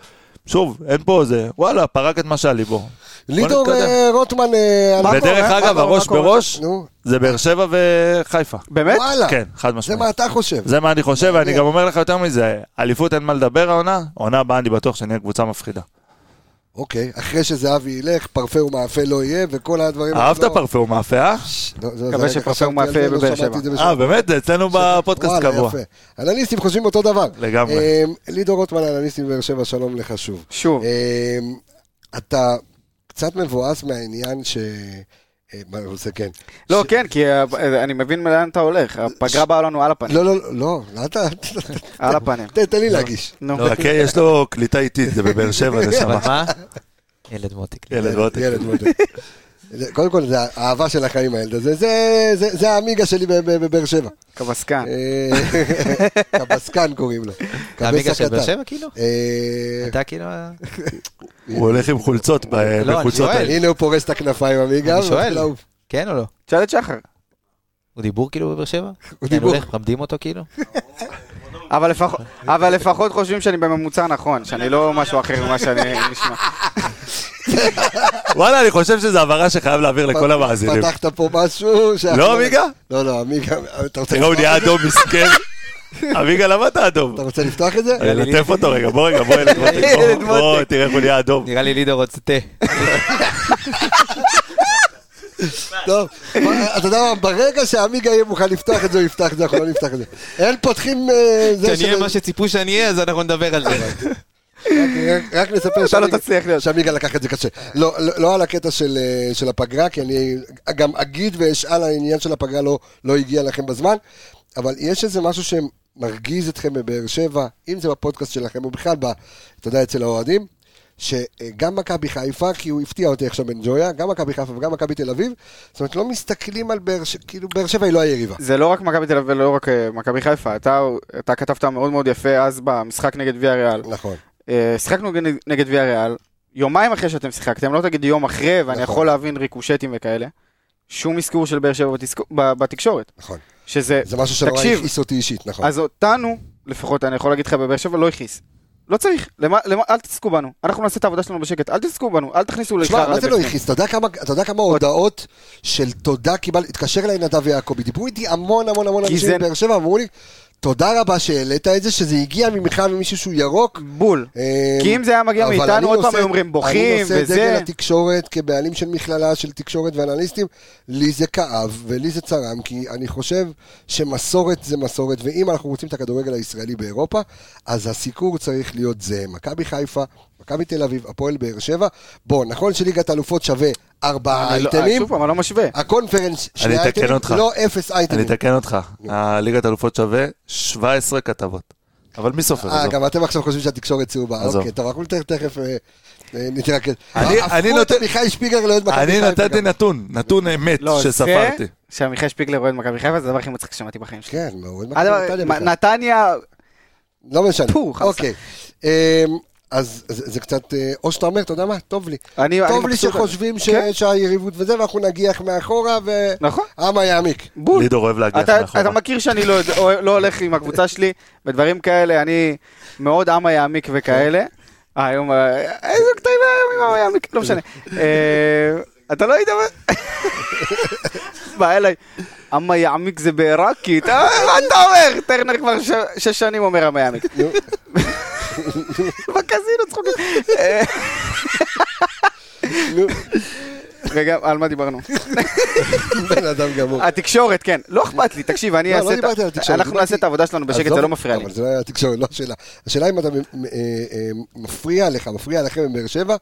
C: שוב, אין פה זה, וואלה, פרק את מה שהיה לי בו.
A: לידור
C: נתקדם.
A: אה, רוטמן... אה, על-
B: מה
C: ודרך
B: קורה?
C: אגב,
B: מה קורה?
C: הראש
B: מה קורה?
C: בראש,
A: נו,
C: זה באר שבע וחיפה.
B: באמת?
A: וואלה,
C: כן, חד
A: זה
C: משמעית.
A: מה אתה חושב.
C: זה מה אני חושב, ואני
A: מעניין.
C: גם אומר לך יותר מזה, אליפות אין מה לדבר העונה, עונה הבאה אני בטוח שנהיה קבוצה מפחידה.
A: אוקיי, אחרי שזהבי ילך, פרפה ומאפה לא יהיה, וכל הדברים...
C: אהבת
A: לא-
C: פרפה ומאפה, אה?
A: לא, זה- זה
B: מקווה
A: רגע,
B: שפרפה
A: חשבתי
B: ומאפה
A: על זה, לא
B: בבאר
A: שמעתי
B: שבע.
A: את זה בשום-
C: אה, באמת, זה אצלנו בפודקאסט
A: וואלה,
C: קבוע.
A: יפה. אנליסטים חושבים אותו דבר.
C: לגמרי.
A: אמ, לידור רוטמן, אנליסטים באר שבע, שלום לך שוב.
B: שוב.
A: אמ, אתה קצת מבואס מהעניין ש... אה, מה הוא עושה, כן.
B: לא,
A: ש-
B: כן, כי אה, אה, אני מבין לאן אתה הולך. הפגרה באה לנו על הפנים.
A: לא, לא, לא, לא, אתה...
B: על הפנים.
A: תן- תן לי להגיש.
B: נו.
D: לא.
C: חכה, כן, יש לו קליטה איטית, זה בבאר שבע, זה
D: אבל
C: שם.
D: מה? ילד מותק.
C: ילד ועותק.
A: ילד מותק. זה- קודם כל, זה האהבה של החיים, הילד הזה. זה- זה- זה האמיגה שלי בב- בבאר שבע.
B: קבסקן.
A: אה, קבסקן קוראים לו.
D: אתה המיגה
A: קבס
D: של באר
A: הקטן.
D: שבע, כאילו?
A: אה,
D: אתה כאילו...
C: הוא הולך עם חולצות ב-
D: אני
C: בחולצות
D: שואל.
C: האלה.
A: הנה הוא פורס את הכנפיים, עמיגה.
D: אני שואל.
A: מתחיל לעוף.
D: כן או לא?
B: תשאל את שחר.
D: הוא דיבור כאילו בבאר שבע?
A: הוא דיבור.
D: הם הולך, מלמדים אותו כאילו?
B: אבל לפחות- אבל לפחות חושבים שאני בממוצע נכון, שאני לא משהו אחר ממה שאני נשמע.
C: וואלה, אני חושב שזו הבהרה שחייב להעביר לכל המאזינים.
A: פתחת פה משהו. שה-
C: לא, עמיגה?
A: לא, לא, עמיגה. אתה רוצה
C: תראה, הוא
A: לפתוח
C: נהיה
A: את זה?
C: אדום מסכן. אביגה, למה אתה אדום?
A: אתה רוצה לפתוח את זה?
C: אני לטף אותו רגע, בוא רגע, בוא ילד מותק,
B: ילד
C: בוא, בוא,
B: מותק.
C: תראה איך הוא נהיה אדום.
D: נראה לי לידור רוצה תה.
A: טוב. בוא, אתה יודע מה, ברגע שעמיגה יהיה מוכן לפתוח את זה, הוא יפתח את זה, אנחנו לא נפתח את זה. אין פותחים אה, זה
D: כשאני אהיה
A: של-
D: מה שציפו שאני אהיה, אז אנחנו נדבר על זה.
A: רק- רק נספר
B: אתה לא
A: שעמיגה-
B: תצליח להיות.
A: שעמיגה לקח את זה קשה. לא, לא לא על הקטע של, אה, של הפגרה, כי אני גם אגיד ואשאל, העניין של הפגרה לא, לא הגיע לכם בזמן, אבל יש איזה משהו שמרגיז אתכם בבאר שבע, אם זה בפודקאסט שלכם, או בכלל, ב, אתה יודע, אצל האוהדים, שגם מכבי חיפה, כי הוא הפתיע אותי עכשיו בן ג'ויה, גם מכבי חיפה וגם מכבי תל אביב, זאת אומרת, לא מסתכלים על באר שבע, כאילו, באר שבע היא לא היריבה.
B: זה לא רק מכבי תל אביב ולא רק אה, מכבי חיפה. אתה אתה כתבת מאוד מאוד יפה אז במשחק נגד ויה ריאל.
A: נכון.
B: אה, שיחקנו נגד- נגד ויה ריאל, יומיים אחרי שאתם שיחקתם, לא תגיד יום אחרי, ואני
A: נכון.
B: יכול להבין ריקושטים וכאלה. שום אזכור של באר שבע בתסק- ב- בתקשורת.
A: נכון.
B: שזה,
A: זה משהו שנורא
B: תקשיב.
A: הכעיס אותי אישית, נכון.
B: אז אותנו, לפחות אני יכול להגיד לך בבאר שבע, לא הכעיס. לא צריך, למה, למה, אל תתעסקו בנו, אנחנו נעשה את העבודה שלנו בשקט, אל תתעסקו בנו, אל תכניסו
A: תשמע,
B: לחרא
A: מה זה לא
B: לבפנים.
A: הכעיס? אתה יודע כמה- אתה יודע כמה הודעות של תודה קיבלתי? התקשר אליי נדב יעקבי, דיברו איתי המון המון המון
B: כי
A: אנשים
B: זה-
A: מבאר שבע, אמרו לי, תודה רבה שהעלית את זה, שזה הגיע ממך ממישהו שהוא ירוק.
B: בול.
A: אה,
B: כי אם זה היה מגיע
A: אמ, אבל
B: מאיתנו,
A: אני
B: עוד פעם
A: נושא-
B: היו אומרים, בוכים
A: אני נושא את
B: וזה.
A: דגל התקשורת כבעלים של מכללה של תקשורת ואנליסטים, לי זה כאב ולי זה צרם, כי אני חושב שמסורת זה מסורת, ואם אנחנו רוצים את הכדורגל הישראלי באירופה, אז הסיקור צריך להיות זה. מכבי חיפה, מכבי תל אביב, הפועל באר שבע. בוא, נכון שליגת אלופות שווה ארבעה
B: אני לא-
A: אייטמים,
B: שוב פעם, אני לא משווה.
A: אה, הקונפרנס
C: אה, אני
A: שני
C: אתקן
A: אייטמים,
C: אותך.
A: לא אפס
C: אני
A: אייטמים.
C: אתקן אותך, הליגת אלופות שווה 17 כתבות. אבל מי סופר
A: אה,
C: את זה?
A: גם אתם עכשיו חושבים שהתקשורת צהובה.
C: עזוב.
A: אוקיי, טוב, אנחנו תכף- תכף אה, אה, נתרכז.
C: אני- אני
A: הפכו את
C: נותן-
A: עמיחי שפיגלר לאוהד מכבי
C: אני
A: חיפה
C: נתתי
A: גם.
C: נתון, נתון אמת
B: לא,
C: שספרתי.
B: זה שעמיחי שפיגלר אוהד מכבי חיפה, זה הדבר הכי מצחיק ששמעתי בחיים שלי.
A: כן, הוא אוהד מכבי
B: הדבר-
A: נתניה
B: אה, לא, מה-
A: בכלל.
B: נתניה,
A: לא משנה.
B: פו, חמסה.
A: אוקיי. אה, אז זה זה קצת, אה, או שאתה אומר, אתה יודע מה, טוב לי.
B: אני אני
A: טוב לי
B: מבסוט על זה.
A: שחושבים ש-
B: כן.
A: שהיריבות וזה, ואנחנו נגיח מאחורה,
B: נכון,
A: והעמה יעמיק.
B: בול.
C: לידור נכון. אוהב להגיח
B: אתה, אתה
C: מאחורה.
B: מכיר שאני לא, יודע- לא הולך עם הקבוצה שלי בדברים כאלה, אני מאוד עמה יעמיק וכאלה. אה, היום, אה, איזה קטעים היה היום עם עמה יעמיק, לא משנה. אה, אתה לא היית... ב- בא אליי, עמה יעמיק זה בעיראקית, אה, מה אתה אומר? טרנר כבר ש- שש שנים אומר עמה יעמיק.
A: נו.
B: בקזינו צחוקים. אה,
A: נו,
B: רגע, על מה דיברנו?
A: בן אדם גמור.
B: התקשורת, כן. לא אכפת לי, תקשיב, אני
A: לא,
B: אעשה...
A: לא
B: את ה-
A: דיברתי על התקשורת,
B: אנחנו
A: דיברתי-
B: נעשה את העבודה שלנו בשקט,
A: עזוב,
B: זה לא מפריע לי.
A: אבל זה לא היה התקשורת, לא השאלה. השאלה אם אתה אה, אה, מפריע לך, מפריע לכם בבאר שבע,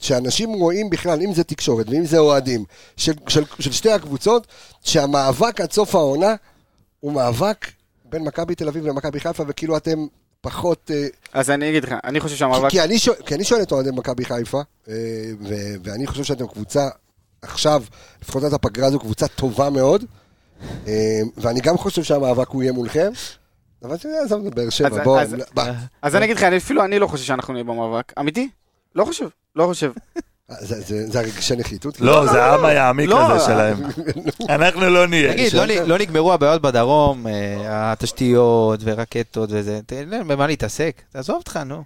A: שאנשים רואים בכלל, אם זה תקשורת ואם זה אוהדים, של, של, של שתי הקבוצות, שהמאבק עד סוף העונה הוא מאבק בין מכבי תל אביב למכבי חיפה, וכאילו אתם פחות... אה,
B: אז אני אגיד לך, אני חושב שהמאבק...
A: כי, כי, אני שואל, כי אני שואל את אוהדי מכבי חיפה, אה, ו- ואני חושב שאתם קבוצה, עכשיו, לפחות עד הפגרה הזו, קבוצה טובה מאוד, אה, ואני גם חושב שהמאבק הוא יהיה מולכם, אבל אתה יודע, עזוב את באר
B: אז-
A: שבע, בואו,
B: אז-
A: בוא,
B: אז אני אגיד לך, אני אפילו אני לא חושב שאנחנו נהיה במאבק. אמיתי? לא חושב, לא חושב.
A: זה- זה זה הרגשי נחיתות?
C: לא, זה העם היעמיק
B: לא,
C: הזה
B: אה,
C: שלהם. אנחנו לא נהיה.
D: תגיד, לא נ- לא נגמרו הבעיות בדרום, אה, התשתיות ורקטות וזה, תן להם במה להתעסק, תעזוב אותך, נו.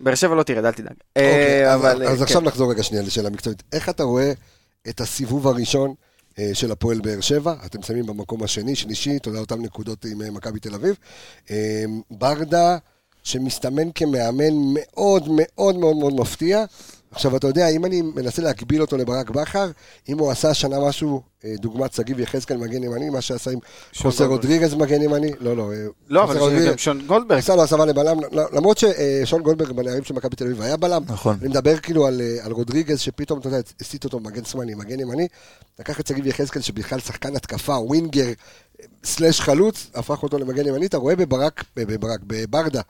B: באר שבע לא תרד, אל תדאג.
A: אוקיי,
B: אה,
A: אז-
B: אבל...
A: אז
B: אה,
A: עכשיו
B: כן.
A: נחזור רגע שנייה לשאלה מקצועית. איך אתה רואה את הסיבוב הראשון אה, של הפועל באר שבע? אתם שמים במקום השני, שלישי, תודה אותן נקודות עם אה, מכבי תל אביב. אה, ברדה, שמסתמן כמאמן מאוד מאוד מאוד מאוד מפתיע. עכשיו, אתה יודע, אם אני מנסה להקביל אותו לברק בכר, אם הוא עשה השנה משהו, אה, דוגמת שגיב יחזקאל מגן ימני, מה שעשה עם חוסר
B: גולדברג.
A: רודריגז מגן ימני, לא, לא, אה,
B: לא,
A: חוסר
B: אבל זה
A: רודריגז.
B: גם שון גולדברג.
A: עשה לו הסבה לבלם, לא- למרות ששון גולדברג בנערים של מכבי תל אביב היה בלם.
C: נכון.
A: אני מדבר כאילו על, אה, על רודריגז, שפתאום, אתה יודע, הסיט אותו מגן שמאלי, מגן ימני. לקח את שגיב יחזקאל, שבכלל שחקן התקפה, ווינגר, אה, סלאש חלוץ, הפך אותו למגן ימני. אתה רואה בברק, ב- בברק, בברדה,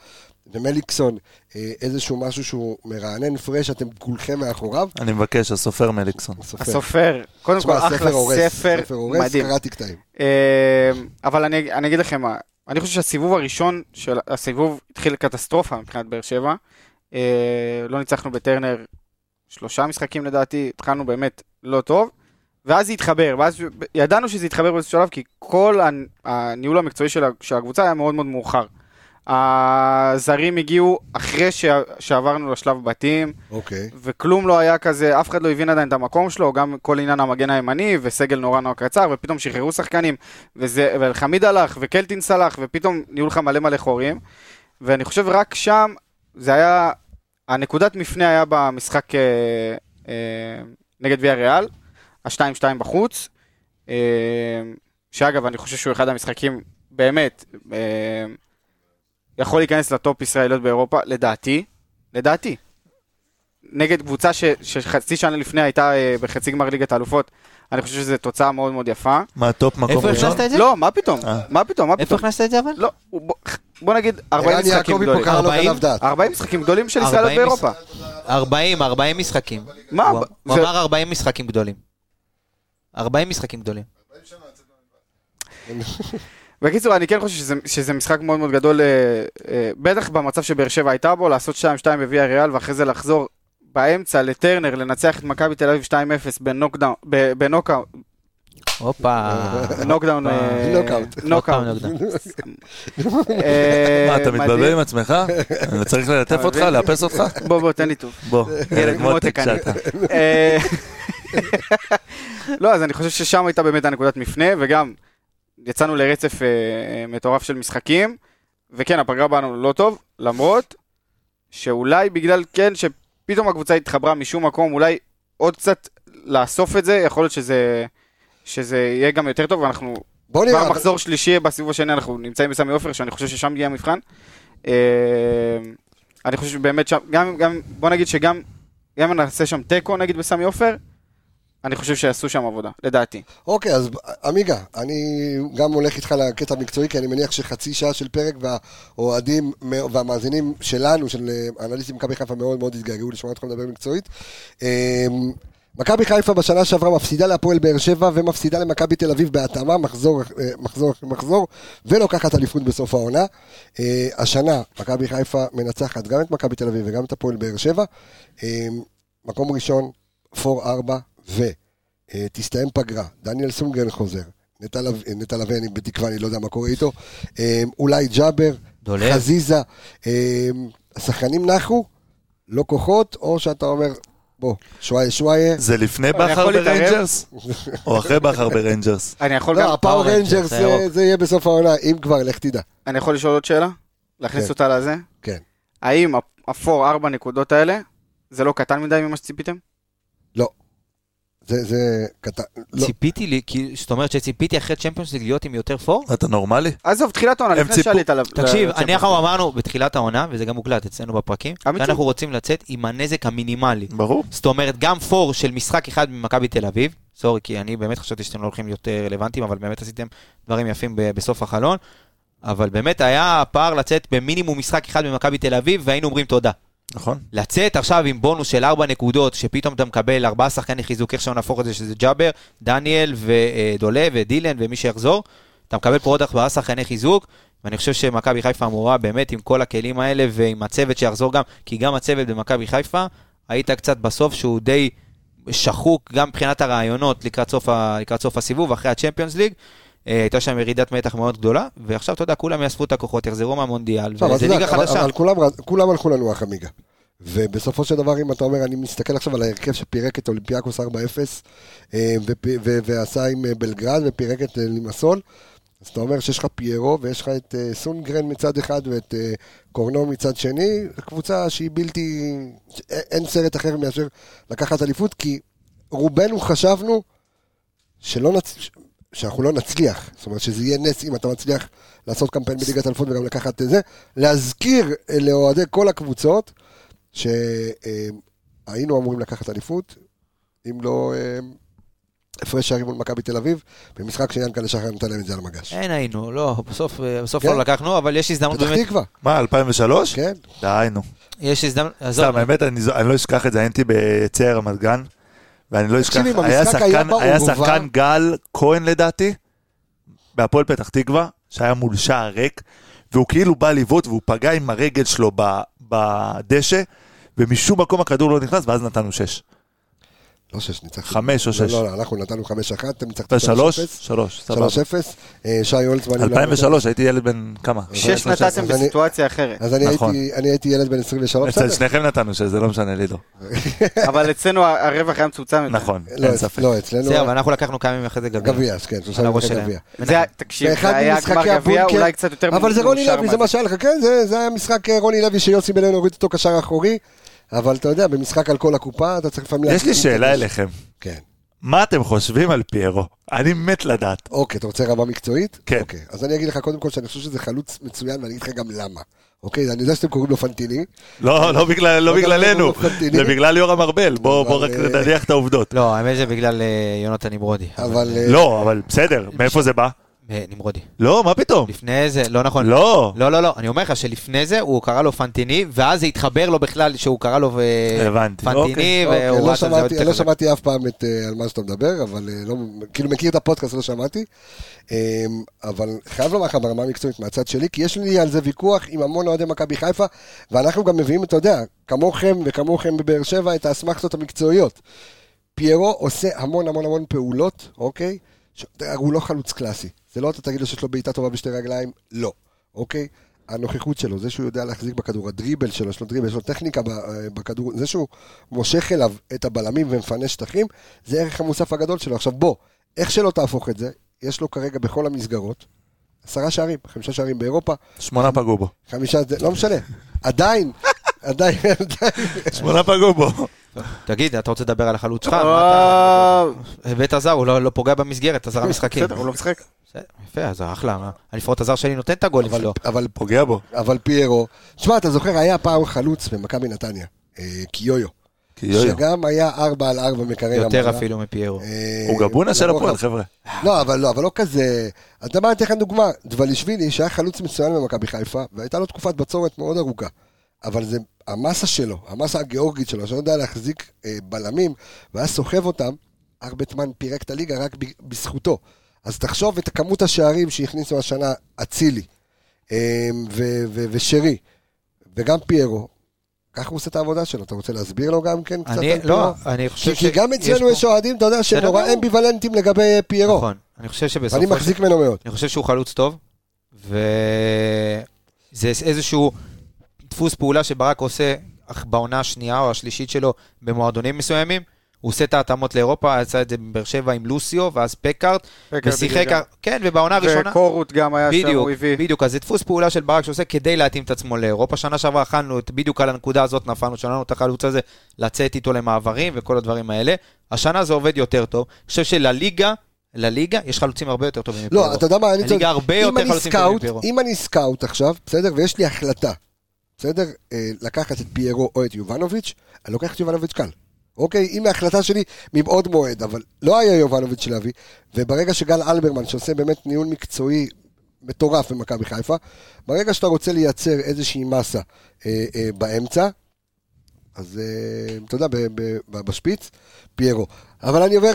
A: במליקסון, אה, איזשהו משהו שהוא מרענן פרש, אתם כולכם מאחוריו.
C: אני מבקש, הסופר מליקסון.
B: הסופר, קודם כל
A: תשמע,
B: אחלה
A: הורס,
B: ספר,
A: ספר הורס,
B: מדהים.
A: קראתי קטעים.
B: אה, אבל אני, אני אגיד לכם מה, אני חושב שהסיבוב הראשון של הסיבוב התחיל קטסטרופה מבחינת באר שבע. אה, לא ניצחנו בטרנר שלושה משחקים לדעתי, התחלנו באמת לא טוב, ואז זה התחבר, ואז ידענו שזה התחבר באיזשהו שלב, כי כל הנ- הניהול המקצועי של ה- של הקבוצה היה מאוד מאוד מאוחר. הזרים הגיעו אחרי שה- שעברנו לשלב בתים,
A: אוקיי.
B: וכלום לא היה כזה, אף אחד לא הבין עדיין את המקום שלו, גם כל עניין המגן הימני, וסגל נורא נורא קצר, ופתאום שחררו שחקנים, וזה, ואלחמיד הלך, וקלטינס הלך, ופתאום נהיו לך מלא מלא חורים, ואני חושב רק שם, זה היה, הנקודת מפנה היה במשחק אה, אה, נגד ויה ריאל, ה-2-2 בחוץ, אה, שאגב, אני חושב שהוא אחד המשחקים, באמת, אה, יכול להיכנס לטופ ישראליות באירופה, לדעתי, לדעתי. נגד קבוצה ש, שחצי שנה לפני הייתה אה, בחצי גמר ליגת האלופות, אני חושב שזו תוצאה מאוד מאוד יפה.
C: מה, טופ מקום
D: איפה
C: ראשון?
D: הכנסת את זה?
B: לא, מה פתאום?
C: אה.
B: מה פתאום? מה
D: איפה
B: פתאום?
D: הכנסת את זה אבל?
B: לא, הוא- בוא- בוא נגיד 40
A: ערן
B: משחקים
A: יעקבי פה
B: גדולים.
A: קרא לא לו
D: 40?
A: גנב דעת.
B: 40 משחקים גדולים של ישראליות
D: 40
B: באירופה.
D: 40, 40 משחקים.
B: מה?
D: הוא
B: זה-
D: הוא אמר 40 משחקים גדולים. 40 משחקים גדולים.
B: בקיצור, אני כן חושב שזה, שזה משחק מאוד מאוד גדול, אה, אה, בטח במצב שבאר שבע הייתה בו, לעשות 2-2 בוויה ריאל, ואחרי זה לחזור באמצע לטרנר, לנצח את מכבי תל אבב 2-0 בנוקדאון, ב- בנוקאוט,
D: הופה.
A: לא,
B: נוקדאון, אה,
A: נוקאוט.
D: עוד פעם
B: נוקאוט.
D: נוקדאון.
B: אה,
C: מה, אתה
B: מדהים.
C: מתבלבל עם עצמך? אני צריך ללטף אותך,
B: מבין?
C: לאפס אותך?
B: בוא, בוא, תן לי טוב.
C: בוא,
B: ילד
C: ילד
B: מותק
C: מותק
B: אני.
C: שאתה.
B: אה, לא, אז אני חושב ששם הייתה באמת הנקודת מפנה, וגם יצאנו לרצף אה, אה, מטורף של משחקים, וכן, הפגרה באנו לא טוב, למרות שאולי בגלל, כן, שפתאום הקבוצה התחברה משום מקום, אולי עוד קצת לאסוף את זה, יכול להיות שזה, שזה יהיה גם יותר טוב, ואנחנו
A: בוא נראה.
B: כבר
A: אבל-
B: מחזור שלישי בסיבוב השני, אנחנו נמצאים בסמי עופר, שאני חושב ששם יהיה המבחן. אה, אני חושב שבאמת שם, גם, גם, בוא נגיד שגם, גם אם נעשה שם תיקו נגיד בסמי עופר, אני חושב שיעשו שם עבודה, לדעתי.
A: אוקיי, אז עמיגה, אני גם הולך איתך לקטע המקצועי, כי אני מניח שחצי שעה של פרק והאוהדים מא- והמאזינים שלנו, של אה, אנליסטים מכבי חיפה, מאוד מאוד התגעגעו לשמוע אותך מדבר מקצועית. אה, מכבי חיפה בשנה שעברה מפסידה להפועל באר שבע ומפסידה למכבי תל אביב בהתאמה, מחזור אה, מחזור אחרי מחזור, ולוקחת אליפות בסוף העונה. אה, השנה מכבי חיפה מנצחת גם את מכבי תל אביב וגם את הפועל באר שבע. אה, מקום ראשון, 4-4 ו... אה, תסתיים פגרה, דניאל סונגרן חוזר, נטע לב- נטע לביא, אני בתקווה, אני לא יודע מה קורה איתו, אה, אולי ג'אבר,
D: דולב.
A: חזיזה, אה, השחקנים נחו, לא כוחות, או שאתה אומר, בוא, שוואיה שוואיה,
C: זה לפני
B: אני
C: בכר
B: יכול להתערב?
C: בריינג'רס? או אחרי בכר בריינג'רס?
B: אני יכול גם,
A: לא, הפאור
D: פאור
A: רנג'רס
D: רנג'רס,
A: זה-
D: הירוק.
A: זה יהיה בסוף העונה, אם כבר, לך תדע.
B: אני יכול לשאול עוד שאלה? להכניס
A: כן.
B: אותה לזה?
A: כן.
B: האם הפור ארבע נקודות האלה, זה לא קטן מדי ממה שציפיתם?
A: לא. זה, זה קטן, לא,
D: ציפיתי לי, כי- זאת אומרת שציפיתי אחרי צ'מפיונס ליג להיות עם יותר
A: לא,
D: פור?
C: אתה נורמלי?
B: עזוב, תחילת העונה,
C: הם
B: לפני
C: ציפו-
B: שעלית עליו.
D: תקשיב, אני אנחנו אמרנו בתחילת העונה, וזה גם מוקלט אצלנו בפרקים,
B: אמיתי.
D: אנחנו רוצים לצאת עם הנזק המינימלי.
C: ברור.
D: זאת אומרת, גם פור של משחק אחד ממכבי תל אביב, סורי, כי אני באמת חשבתי שאתם לא הולכים להיות אה, רלוונטיים, אבל באמת עשיתם דברים יפים ב- בסוף החלון, אבל באמת היה פער לצאת במינימום משחק אחד ממכבי תל אביב, והיינו אומרים תודה.
C: נכון.
D: לצאת עכשיו עם בונוס של 4 נקודות, שפתאום אתה מקבל 4 שחקני חיזוק, איך שלא נהפוך את זה, שזה ג'אבר, דניאל ודולה ודילן ומי שיחזור, אתה מקבל פה עוד 4 שחקני חיזוק, ואני חושב שמכבי חיפה אמורה באמת עם כל הכלים האלה ועם הצוות שיחזור גם, כי גם הצוות במכבי חיפה, היית קצת בסוף שהוא די שחוק גם מבחינת הרעיונות לקראת סוף, ה, לקראת סוף הסיבוב, אחרי הצ'מפיונס ליג. אה, הייתה שם ירידת מתח מאוד גדולה, ועכשיו, אתה יודע, כולם יאספו את הכוחות, יחזרו מהמונדיאל,
A: טוב, אז
D: וזה
A: אתה
D: ליגה
A: יודע, אבל,
D: חדשה.
A: אבל כולם, רז- כולם הלכו לנוח עמיגה. ובסופו של דבר, אם אתה אומר, אני מסתכל עכשיו על ההרכב שפירק את אולימפיאקוס 4-0, אה, ופ- ו- ועשה עם אה, בלגרד, ופירק את אה, לימסול, אז אתה אומר שיש לך פיירו, ויש לך את אה, סונגרן מצד אחד, ואת אה, קורנו מצד שני, קבוצה שהיא בלתי... ש- א- אין סרט אחר מאשר לקחת אליפות, כי רובנו חשבנו שלא נצ... ש- שאנחנו לא נצליח, זאת אומרת שזה יהיה נס אם אתה מצליח לעשות קמפיין בליגת אלפות וגם לקחת את זה. להזכיר אה, לאוהדי כל הקבוצות שהיינו אמורים לקחת אליפות, אם לא אה, הפרש שערים מול מכבי תל אביב, במשחק שיענקל'ה שחר נתן להם את זה על
C: אה,
A: המגש.
D: אין היינו, לא, בסוף, בסוף
A: כן.
D: לא לקחנו, אבל יש הזדמנות
A: פתח
D: באמת,
A: תקווה,
C: מה, 2003?
A: כן?
C: דהיינו.
D: יש הזדמנות, עזוב,
C: סתם, האמת, אני זו- אני לא אשכח את זה, הייתי ביציע רמת גן, ואני לא אשכח,
A: תקשיב, אם
C: היה
A: המשחק היה
C: שחקן- היה
A: באורווה-
C: שחקן גל כהן לדעתי, בהפועל פתח תקווה, שהיה מול שער ריק, והוא כאילו בא לבעוט והוא פגע עם הרגל שלו ב- בדשא, ומשום מקום הכדור לא נכנס, ואז נתנו שש.
A: לא שש, ניצחתם.
C: חמש או
A: לא,
C: שש.
A: לא, לא, אנחנו נתנו חמש אחת, אתם ניצחתם
C: אתה שלוש?
A: 3-0.
C: שלוש, סבבה.
A: 3-0, אה, שי הולצמן.
C: 2003, הייתי ילד בן כמה?
B: שש נתתם
A: אז אני-
B: בסיטואציה אחרת,
A: אז אני
C: נכון.
A: הייתי- אני הייתי ילד בן 23.
C: אצל
A: לא, בסדר.
C: שניכם נתנו שש, זה לא משנה לי לא.
B: אבל אצלנו ה- הרווח היה מצומצם. יותר.
C: נכון,
A: לא,
C: אין ספק.
A: לא, אצלנו
D: זהו, אבל אנחנו לקחנו כמה ימים אחרי זה גביע.
A: גביע, אז כן, שלושה
D: על הראש
A: משחקי
D: שלהם.
A: גביע.
B: זה היה- תקשיב,
A: באחד
B: זה היה
A: ממשחקי
B: גמר גביע,
A: הבונקר-
B: אולי קצת יותר
A: אבל זה רוני
B: מאושר
A: לוי, זה
B: מה
A: מה שהיה לך, כן, זה, זה היה משחק אה, רוני לוי שיוסי בן-אל הוריד אותו קשר אחורי, אבל אתה יודע, במשחק על כל הקופה, אתה צריך לפעמים...
C: יש
A: להתאים
C: לי
A: את
C: שאלה
A: הראש.
C: אליכם,
A: כן.
C: מה אתם חושבים על פיירו? אני מת לדעת.
A: אוקיי, אתה רוצה רמה מקצועית?
C: כן.
A: אוקיי, אז אני אגיד לך קודם כל שאני חושב שזה חלוץ מצוין, ואני אגיד לך גם למה. אוקיי, אני יודע שאתם קוראים לו פנטיני.
C: לא, לא בגלל- לא
A: לא
C: בגללנו,
A: בגלל פנטיני.
C: זה בגלל יורם ארבל, בוא בוא רק
A: אבל, אה,
C: נניח את העובדות.
D: לא, האמת זה בגלל אה, יונתן נמרודי.
A: אבל, אה,
C: לא, אבל בסדר, מאיפה זה בא?
D: אה, נמרודי.
C: לא, מה פתאום?
D: לפני זה, לא נכון.
C: לא.
D: לא, לא, לא, אני אומר לך שלפני זה הוא קרא לו פנטיני, ואז זה התחבר לו בכלל שהוא קרא לו אה,
C: הבנתי,
D: פנטיני,
C: אוקיי.
A: אוקיי,
D: והוא
A: לא
D: רץ על זה עוד
A: שמעתי,
D: יותר
A: לא
D: חזק.
A: שמעתי אף פעם את, אה, על מה שאתה מדבר, אבל אה, לא, כאילו מכיר את הפודקאסט, לא שמעתי. אה, אבל חייב לומר לך ברמה המקצועית מהצד שלי, כי יש לי על זה ויכוח עם המון אוהדי מכבי חיפה, ואנחנו גם מביאים, אתה יודע, כמוכם וכמוכם בבאר שבע, את האסמכתות המקצועיות. פיירו עושה המון המון המון פעולות, אוקיי? ש... הוא לא חלוץ קלאסי. זה לא אתה תגיד לו שיש לו בעיטה טובה בשתי רגליים, לא, אוקיי? הנוכחות שלו, זה שהוא יודע להחזיק בכדור, הדריבל שלו, יש לו דריבל, יש לו טכניקה ב- אה, בכדור, זה שהוא מושך אליו את הבלמים ומפנה שטחים, זה הערך המוסף הגדול שלו. עכשיו בוא, איך שלא תהפוך את זה, יש לו כרגע בכל המסגרות עשרה שערים, חמישה שערים באירופה,
C: שמונה פגעו בו.
A: חמישה, זה- לא משנה, עדיין, עדיין, עדיין,
C: שמונה פגעו בו.
D: תגיד, אתה רוצה לדבר על החלוץ שלך? מה
B: אה,
D: אתה- הבאת זר, הוא לא לא פוגע במסגרת, עזרה משחקים.
B: בסדר, הוא לא משחק.
D: בסדר, יפה, אז אחלה. מה? אני לפחות הזר שלי נותן את הגולים שלו.
A: אבל
C: פוגע בו.
A: אבל פיירו, תשמע, אתה זוכר, היה פעם חלוץ במכבי נתניה, אה, קיויו,
C: כי יו-יו.
A: שגם היה ארבע על ארבע מקריירה.
D: יותר
A: מעולה.
D: אפילו מפיירו.
A: אה,
C: הוא גבונה של
A: לרוחב.
C: הפועל, חבר'ה.
A: לא, אבל לא, אבל לא כזה... אתה יודע מה, אני אתן לכם דוגמה. דבלישווילי, שהיה חלוץ מצוין במכבי חיפה, והייתה לו תקופת בצורת מאוד ארוכה. אבל זה המסה שלו, המסה הגיאורגית שלו, שלא יודע להחזיק אה, בלמים, והיה סוחב אותם, ארבטמן פירק את הליגה רק ב- בזכותו. אז תחשוב את כמות השערים שהכניסו השנה אצילי, אה, ו- ו- ושרי, וגם פיירו. ככה הוא עושה את העבודה שלו. אתה רוצה להסביר לו גם כן קצת
D: אני,
A: על
D: לא,
A: פיירו? כי,
D: אני חושב
A: כי גם אצלנו
D: פה-
A: יש אוהדים, אתה יודע, שהם
D: בסדר
A: נורא
D: גמור.
A: אמביוולנטים לגבי פיירו.
D: נכון, אני חושב שבסופו
A: אני
D: של
A: מחזיק ממנו מאוד.
D: אני חושב שהוא חלוץ טוב, וזה איזשהו דפוס פעולה שברק עושה אך בעונה השנייה או השלישית שלו במועדונים מסוימים. הוא עושה את ההתאמות לאירופה, עשה את זה בבאר שבע עם לוסיו, ואז פקארט, ושיחק, כן, ובעונה הראשונה...
B: וקורות גם היה שם,
D: בדיוק,
B: הוא הביא.
D: בדיוק, אז זה דפוס פעולה של ברק שעושה כדי להתאים את עצמו לאירופה. שנה שעברה אכלנו את, בדיוק על הנקודה הזאת נפלנו, שלנו את החלוץ הזה לצאת איתו למעברים וכל הדברים האלה. השנה זה עובד יותר טוב. אני חושב שלליגה, לליגה, יש חלוצים הרבה יותר טובים מפיירו.
A: לא, אתה יודע מה, אני
D: הליגה הרבה
A: אם
D: יותר
A: אני
D: חלוצים טובים
A: סקאוט,
D: מפיירו.
A: אם אני סקאוט עכשיו, בסדר, ויש לי החלטה, בסדר, אה, לקחת את פיירו או את יובנוביץ', אני לוקח את יובנוביץ' קל. אוקיי, אם ההחלטה שלי מבעוד מועד, אבל לא היה יובנוביץ' של אבי, וברגע שגל אלברמן, שעושה באמת ניהול מקצועי מטורף במכבי חיפה, ברגע שאתה רוצה לייצר איזושהי מסה אה, אה, באמצע, אז אה, אתה יודע, ב- ב- ב- בשפיץ, פיירו. אבל אני עובר,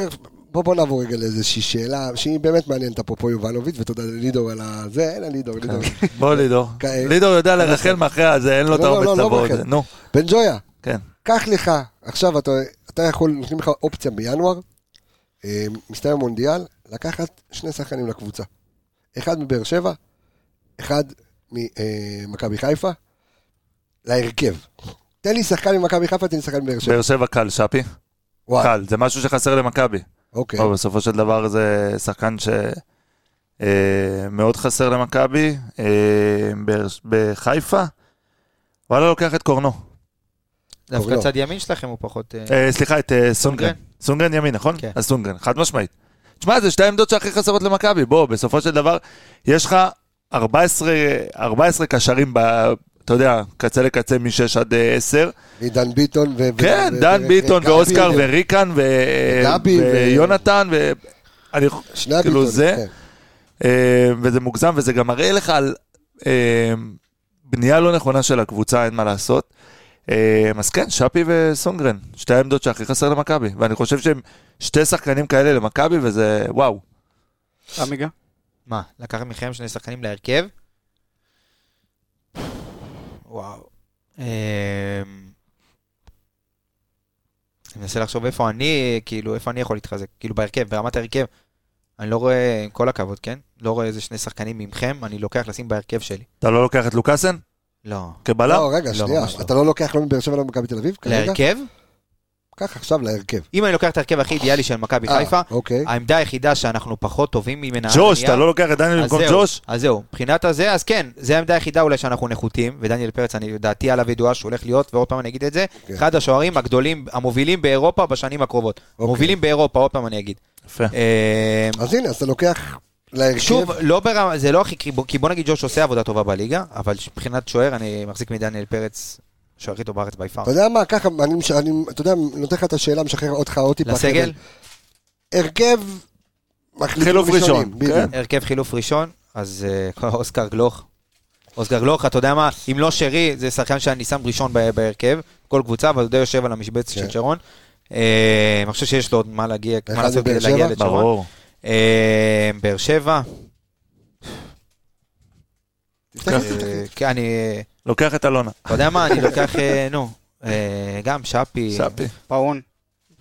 A: בוא, בוא נעבור רגע לאיזושהי שאלה, שהיא באמת מעניינת אפרופו יובנוביץ', ותודה ללידור על ה... זה, אין לידור,
C: כן.
A: לידור.
C: בוא לידור.
A: כן.
C: לידור יודע לרחל מאחורי הזה, אין לו את
A: לא, לא,
C: האומץ
A: לא, לא
C: לבוא.
A: ברחל.
C: נו,
A: בן ג'ויה,
C: כן.
A: קח לך, עכשיו אתה, אתה יכול, נותנים לך אופציה בינואר, אה, מסתיים המונדיאל, לקחת שני שחקנים לקבוצה. אחד מבאר שבע, אחד ממכבי חיפה, להרכב. תן לי שחקן ממכבי חיפה, תן לי שחקן מבאר שבע.
C: באר שבע קל, שפי.
A: וואי,
C: קל, זה משהו שחסר למכבי.
A: אוקיי.
C: אבל בסופו של דבר זה שחקן שמאוד חסר למכבי. אה, באר- בחיפה, וואלה לוקח את קורנו.
A: כן.
D: דווקא
A: לא.
D: צד ימין שלכם הוא פחות... אה,
C: אה, סליחה, את אה, סונגרן. סונגרן ימין, נכון?
D: כן.
C: אז סונגרן, חד משמעית. תשמע, זה שתי העמדות שהכי חסרות למכבי. בוא, בסופו של דבר, יש לך 14, 14 קשרים, ב, אתה יודע, קצה לקצה מ-6 עד אה, 10.
A: ודן ביטון ו...
C: כן,
A: ו-
C: דן
A: ו-
C: ביטון
A: וגבי
C: ואוסקר
A: ו-
C: וריקן ו-
A: וגבי ו-
C: ויונתן ו... אני...
A: שני
C: כאילו
A: הביטונים,
C: זה-
A: כן.
C: אה, וזה מוגזם, וזה גם מראה לך על אה, בנייה לא נכונה של הקבוצה, אין מה לעשות. אה, אז כן, שפי וסונגרן, שתי העמדות שהכי חסר למכבי, ואני חושב שהם שתי שחקנים כאלה למכבי, וזה וואו.
B: עמיגה?
D: מה, לקחת מחיים שני שחקנים להרכב? וואו. אמ, אני מנסה לחשוב איפה אני, כאילו, איפה אני יכול להתחזק. כאילו, בהרכב, ברמת ההרכב. אני לא רואה, עם כל הכבוד, כן? לא רואה איזה שני שחקנים ממכם, אני לוקח לשים בהרכב שלי.
C: אתה לא לוקח את לוקאסן
D: לא.
C: כבלם?
A: לא, רגע,
D: לא,
A: שנייה.
D: ממש לא.
A: אתה לא לוקח לא מבאר שבע, לא ממכבי תל אביב? כרגע?
D: להרכב?
A: קח עכשיו להרכב.
D: אם אני לוקח את ההרכב הכי אידיאלי של מכבי חיפה,
A: אה, אוקיי.
D: העמדה היחידה שאנחנו פחות טובים ממנה... על
C: ג'וש,
D: הנייר-
C: אתה לא לוקח את דניאל
D: אז
C: במקום
D: זהו,
C: ג'וש?
D: אז זהו, מבחינת הזה, אז כן, זו העמדה היחידה אולי שאנחנו נחותים, ודניאל פרץ, אני, דעתי עליו ידועה שהוא הולך להיות, ועוד פעם אני אגיד את זה,
A: כן.
D: אחד השוערים הגדולים, המובילים באירופה בשנים הקרובות.
A: אוקיי.
D: מובילים באירופה, עוד פעם אני אגיד.
C: יפה.
D: אה,
A: אז הנה, אז אתה לוקח להרכב.
D: שוב, לא ברמה, זה לא הכי, כי בוא- כי בוא נגיד ג'וש עושה עבודה טובה בליגה, אבל מבחינת שוער, אני מחזיק מדניאל פרץ, שוער הכי טוב בארץ בי פאר.
A: אתה יודע מה, ככה, אני, מש- אני, אתה יודע, נותן לך את השאלה, משחרר אותך עוד טיפה.
D: לסגל,
A: הרכב... מחליטים
C: חילוף ראשון,
A: ראשונים, בדיוק.
C: כן.
D: הרכב חילוף ראשון, אז אה, אוסקר גלוך. אוסקר גלוך, אתה יודע מה, אם לא שרי, זה שחקן שאני שם ראשון ב- בהרכב, כל קבוצה, אבל הוא די יושב על המשבצת
A: כן.
D: של שרון. אה, אני חושב שיש לו עוד מה להגיע,
A: ואחד
D: מה לעשות כדי
A: מבאר
D: להגיע
A: שבע?
D: לשרון.
C: ברור.
D: אה, באר שבע,
A: תפתח את זה.
D: אה, כן, אני, אה,
C: לוקח את אלונה.
D: אתה יודע מה, אני לוקח, אה, נו, אה, גם שפי,
C: שפי.
B: פאון.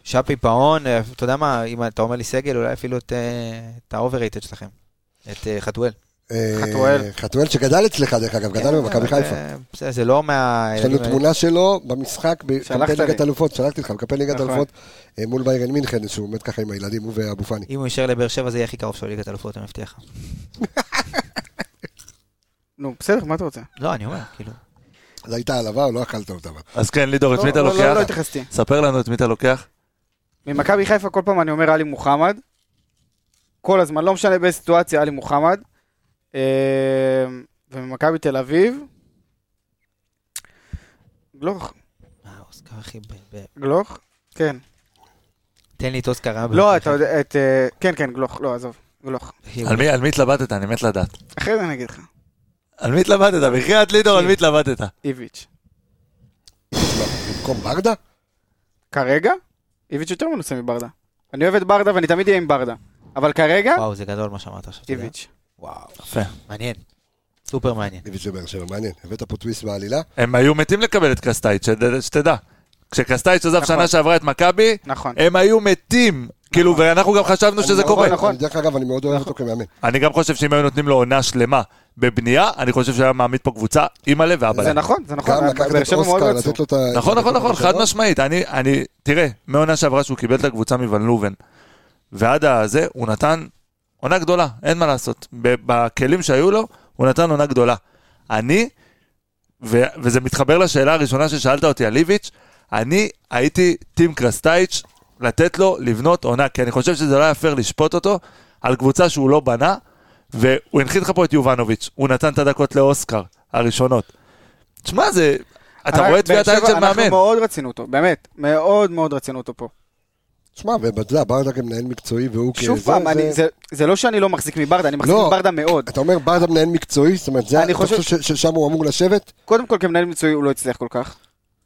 D: שפי פאון, אה, אתה יודע מה, אם אתה אומר לי סגל, אולי אפילו את, אה, את האוברייטד שלכם, את אה, חתואל.
A: אה,
B: חתואל.
A: חתואל שגדל אצלך, דרך אגב, גדל במכבי חיפה.
D: אה, בסדר, זה לא מה...
A: יש לנו תמונה שלו במשחק
B: שלחת
A: בקמפיין ליגת
B: לי.
A: אלופות, שלחתי לך, בקמפיין ליגת
B: נכון.
A: אלופות אה, מול ביירן מינכן, שהוא עומד ככה עם הילדים, הוא ואבו פאני.
D: אם הוא יישאר לבאר שבע זה יהיה הכי קרוב שלו ליגת אלופות, אני מבטיח לך.
B: נו, בסדר, מה אתה רוצה?
D: לא, אני אומר, כאילו.
A: זו הייתה העלבה, או לא אכלת אותה. אבל.
C: אז כן, לידור, את
B: לא,
C: מי אתה
B: לא, לא, לא
C: לוקח?
B: התייחסתי.
C: ספר לנו את מי אתה לוקח.
B: ממכבי חיפה כל פעם אני אומר עלי מוחמד. כל הזמן, לא משנה באיזה סיטואציה, עלי מוחמד. אה, וממכבי תל אביב. גלוך,
D: אה, אוסקר אחי, ב- ב-
B: גלוך? כן.
D: תן לי את אוסקר רב.
B: לא, אתה יודע, את... אה, כן, כן, גלוך, לא, עזוב, גלוך.
C: על מי- על מי התלבטת? אני מת לדעת.
B: אחרי זה אני אגיד לך,
C: על מי
B: אה,
C: התלבטת? בחייאת לידור, על מי התלבטת?
B: איביץ'.
A: במקום ברדה?
B: כרגע, איביץ' יותר מנוסה מברדה. אני אוהב את ברדה ואני תמיד אהיה עם ברדה. אבל כרגע,
A: אה,
D: וואו, זה גדול מה שאמרת עכשיו. אתה יודע?
B: איביץ'.
D: וואו,
C: יפה.
D: מעניין. סופר מעניין.
A: ליביץ' בבאר שבע, מעניין. הבאת פה טוויסט בעלילה.
C: הם היו מתים לקבל את קסטייץ', שד- שתדע. כשקסטייץ' עזב
B: נכון.
C: שנה שעברה את מכבי,
B: נכון.
C: הם היו מתים. כאילו, ואנחנו גם חשבנו שזה
A: אני
C: קורה.
A: מאוד-
B: נכון.
A: אני- דרך אגב, אני מאוד אוהב אותו כמאמן.
C: אני גם חושב שאם היו נותנים לו עונה שלמה בבנייה, אני חושב שהיה מעמיד פה קבוצה, אימא'לה
B: זה
C: ואבאלה.
B: נכון, לא- זה נכון.
A: גם לקחת
B: באר
A: את
B: שבע מאוד
A: אוסקר,
B: רצו.
A: לתת לו את ה...
C: נכון, נכון, נכון,
A: שלו.
C: חד משמעית. אני, אני, תראה, מהעונה שעברה שהוא קיבל את הקבוצה מוון לובן, ועד הזה, הוא נתן עונה גדולה, אין מה לעשות. ב- בכלים שהיו לו, הוא נתן עונה גדולה. אני, ו- וזה מתחבר לשאלה הראשונה ששאלת אותי על איביץ', אני הייתי טים קרסטייץ', לתת לו לבנות עונה, כי אני חושב שזה לא היה פייר לשפוט אותו על קבוצה שהוא לא בנה, והוא הנחית לך פה את יובנוביץ', הוא נתן את הדקות לאוסקר הראשונות. תשמע, זה... אתה
B: רק
C: רואה את טביעת
B: אה, באר
C: העין
B: שבע,
C: של מאמן.
B: אנחנו מאוד רצינו אותו, באמת. מאוד מאוד רצינו אותו פה.
A: שמע, ואתה יודע, ברדה כמנהל מקצועי והוא כ...
B: שוב
A: אוקיי, זה-
B: פעם,
A: זה-
B: אני- זה- זה לא שאני לא מחזיק מברדה, אני מחזיק
A: לא.
B: מברדה מאוד.
A: אתה אומר ברדה מנהל מקצועי? זאת אומרת, זה-
B: אני
A: אתה
B: חושב-
A: חושב ש- ששם הוא אמור לשבת?
B: קודם כל, כמנהל מקצועי הוא לא הצליח כל כך.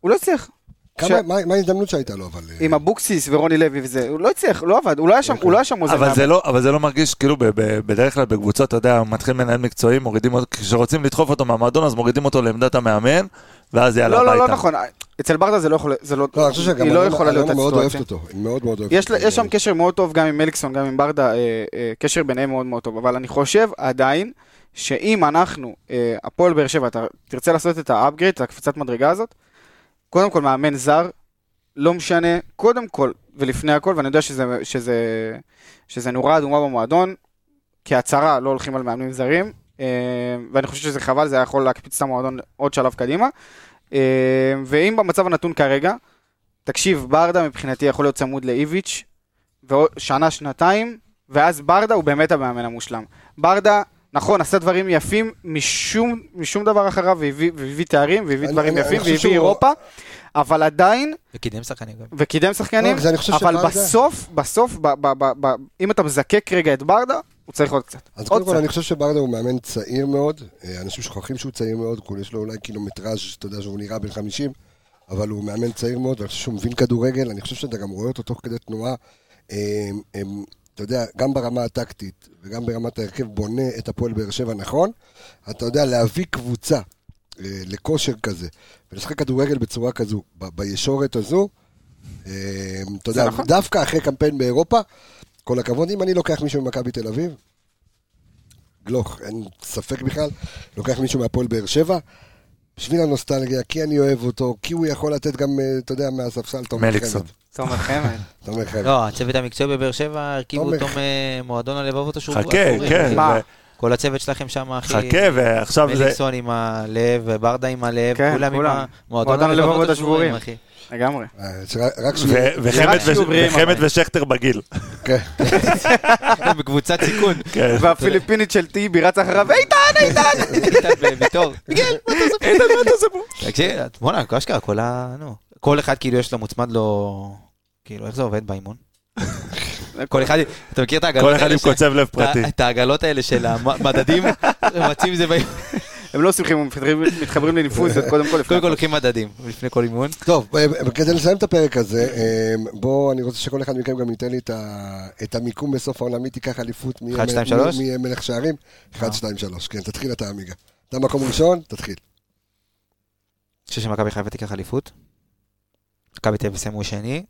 B: הוא לא הצליח.
A: כמה-
B: ש-
A: מה מה ההזדמנות שהייתה לו, אבל... אה?
B: עם אבוקסיס ורוני לוי וזה, הוא לא הצליח, לא עבד, הוא לא היה
A: אוקיי.
B: שם, הוא לא היה שם עוזר.
C: אבל
B: מאמן.
C: זה, לא, אבל זה לא מרגיש, כאילו, ב- ב- בדרך כלל בקבוצות, אתה יודע, מתחיל מנהל מקצועי, מורידים אותו, כשרוצים לדחוף אותו מהמועדון, אז מורידים אותו לעמדת המאמן, ואז יאללה
B: לא,
C: הביתה.
B: לא, לא נכון. אצל ברדה זה לא יכול, זה לא,
A: לא, אני חושב שגם
B: היא לא
A: אלונה-
B: יכולה להיות
A: אלונה מאוד
B: הסיטואציה.
A: אוהבת אותו. היא מאוד מאוד אוהבת
B: יש, לה-
A: אותו. אה,
B: יש שם קשר מאוד טוב גם עם אליקסון, גם עם ברדה, אה, אה, קשר ביניהם מאוד מאוד טוב, אבל אני חושב עדיין שאם אנחנו, אה, הפועל באר שבע, אתה תרצה לעשות את האפגריד, את הקפיצת מדרגה הזאת, קודם כל מאמן זר, לא משנה, קודם כל ולפני הכל, ואני יודע שזה, שזה, שזה נורה אדומה במועדון, כהצהרה לא הולכים על מאמנים זרים, אה, ואני חושב שזה חבל, זה היה יכול להקפיץ את המועדון עוד שלב קדימה. אה, ואם במצב הנתון כרגע, תקשיב, ברדה מבחינתי יכול להיות צמוד לאיביץ', ועוד שנה, שנתיים, ואז ברדה הוא באמת המאמן המושלם. ברדה, נכון, עשה דברים יפים משום, משום דבר אחריו, והביא, והביא תארים, והביא
A: אני-
B: דברים
A: אני- אני
B: יפים,
A: חושב
B: והביא
A: שהוא-
B: אירופה, אבל עדיין,
D: וקידם שחקנים גם.
B: וקידם שחקנים,
A: לא, זה אני חושב
B: אבל
A: שברדה-
B: בסוף, בסוף, ב- ב- ב- ב- אם אתה מזקק רגע את ברדה, הוא צריך עוד קצת.
A: אז
B: עוד
A: קודם כל,
B: קצת.
A: אני חושב שברדה הוא מאמן צעיר מאוד. אה, אנשים שוכחים שהוא צעיר מאוד, כי יש לו אולי קילומטראז', אתה יודע שהוא נראה בן 50, אבל הוא מאמן צעיר מאוד, ואני חושב שהוא מבין כדורגל. אני חושב שאתה גם רואה אותו תוך כדי תנועה. אה, אה, אתה יודע, גם ברמה הטקטית וגם ברמת ההרכב בונה את הפועל באר שבע נכון. אתה יודע, להביא קבוצה אה, לכושר כזה, ולשחק כדורגל בצורה כזו, ב- בישורת הזו, אה, אתה יודע,
B: נכון.
A: דווקא אחרי קמפיין באירופה, כל הכבוד, אם אני לוקח מישהו ממכבי תל אביב, גלוך, אין ספק בכלל, לוקח מישהו מהפועל באר שבע, בשביל הנוסטלגיה, כי אני אוהב אותו, כי הוא יכול לתת גם, אה, אתה יודע, מהספסל, תומר
C: מליקסון.
A: חמד.
B: תומר חמד.
A: תומר חמד.
D: לא, הצוות המקצועי בבאר שבע הרכיבו
A: תומר.
D: אותו ממועדון הלבבות השוב.
C: חכה, כן.
B: מה?
C: ו-
D: כל הצוות שלכם שם, אחי.
C: חכה, ועכשיו זה...
D: מליקסון עם הלב, וברדה עם הלב,
B: כן,
D: כולם עם
B: כולם.
D: המועדון הלבבות השבורים, אחי.
B: לגמרי.
A: אה, ש- רק ש...
C: ו- וחמד
B: רק שיהיו
C: וש-
B: בריאים,
C: וחמד
B: אבל.
C: ושכטר בגיל.
A: כן.
D: הם בקבוצת סיכון.
C: כן.
B: והפיליפינית של טיבי רץ אחריו, איתן, איתן!
D: איתן אה, וויטור.
B: כן.
C: איתן, מה אתה עושה פה?
D: תקשיב, בואנה, אשכרה, כל ה... נו. כל אחד כאילו יש לו מוצמד לו... כאילו, איך זה עובד באימון? כל אחד, אתה מכיר את העגלות
C: כל
D: האלה?
C: אחד עם
D: ש-
C: קוצב לב פרטי.
D: את העגלות האלה של המדדים, מבצעים זה באימון.
B: הם לא עושים חימום, מתחברים- מתחברים לניפוזיות, קודם כל. לפני
D: קודם כל
B: הכל.
D: לוקחים מדדים לפני כל אימון.
A: טוב, אה, כדי לסיים את הפרק הזה, אה, בואו, אני רוצה שכל אחד מכם גם ייתן לי את ה- את המיקום בסוף העונה, מי תיקח אליפות, מי
D: אחד,
A: יהיה
D: שתיים, שלוש? אה.
A: מי יהיה מלך שערים, 1, 2, 3, כן, תתחיל אתה עמיגה. אתה מקום ראשון, תתחיל.
D: אני חושב שמכבי חיפה תיקח אליפות. מכבי תל אביב יסיימו שני,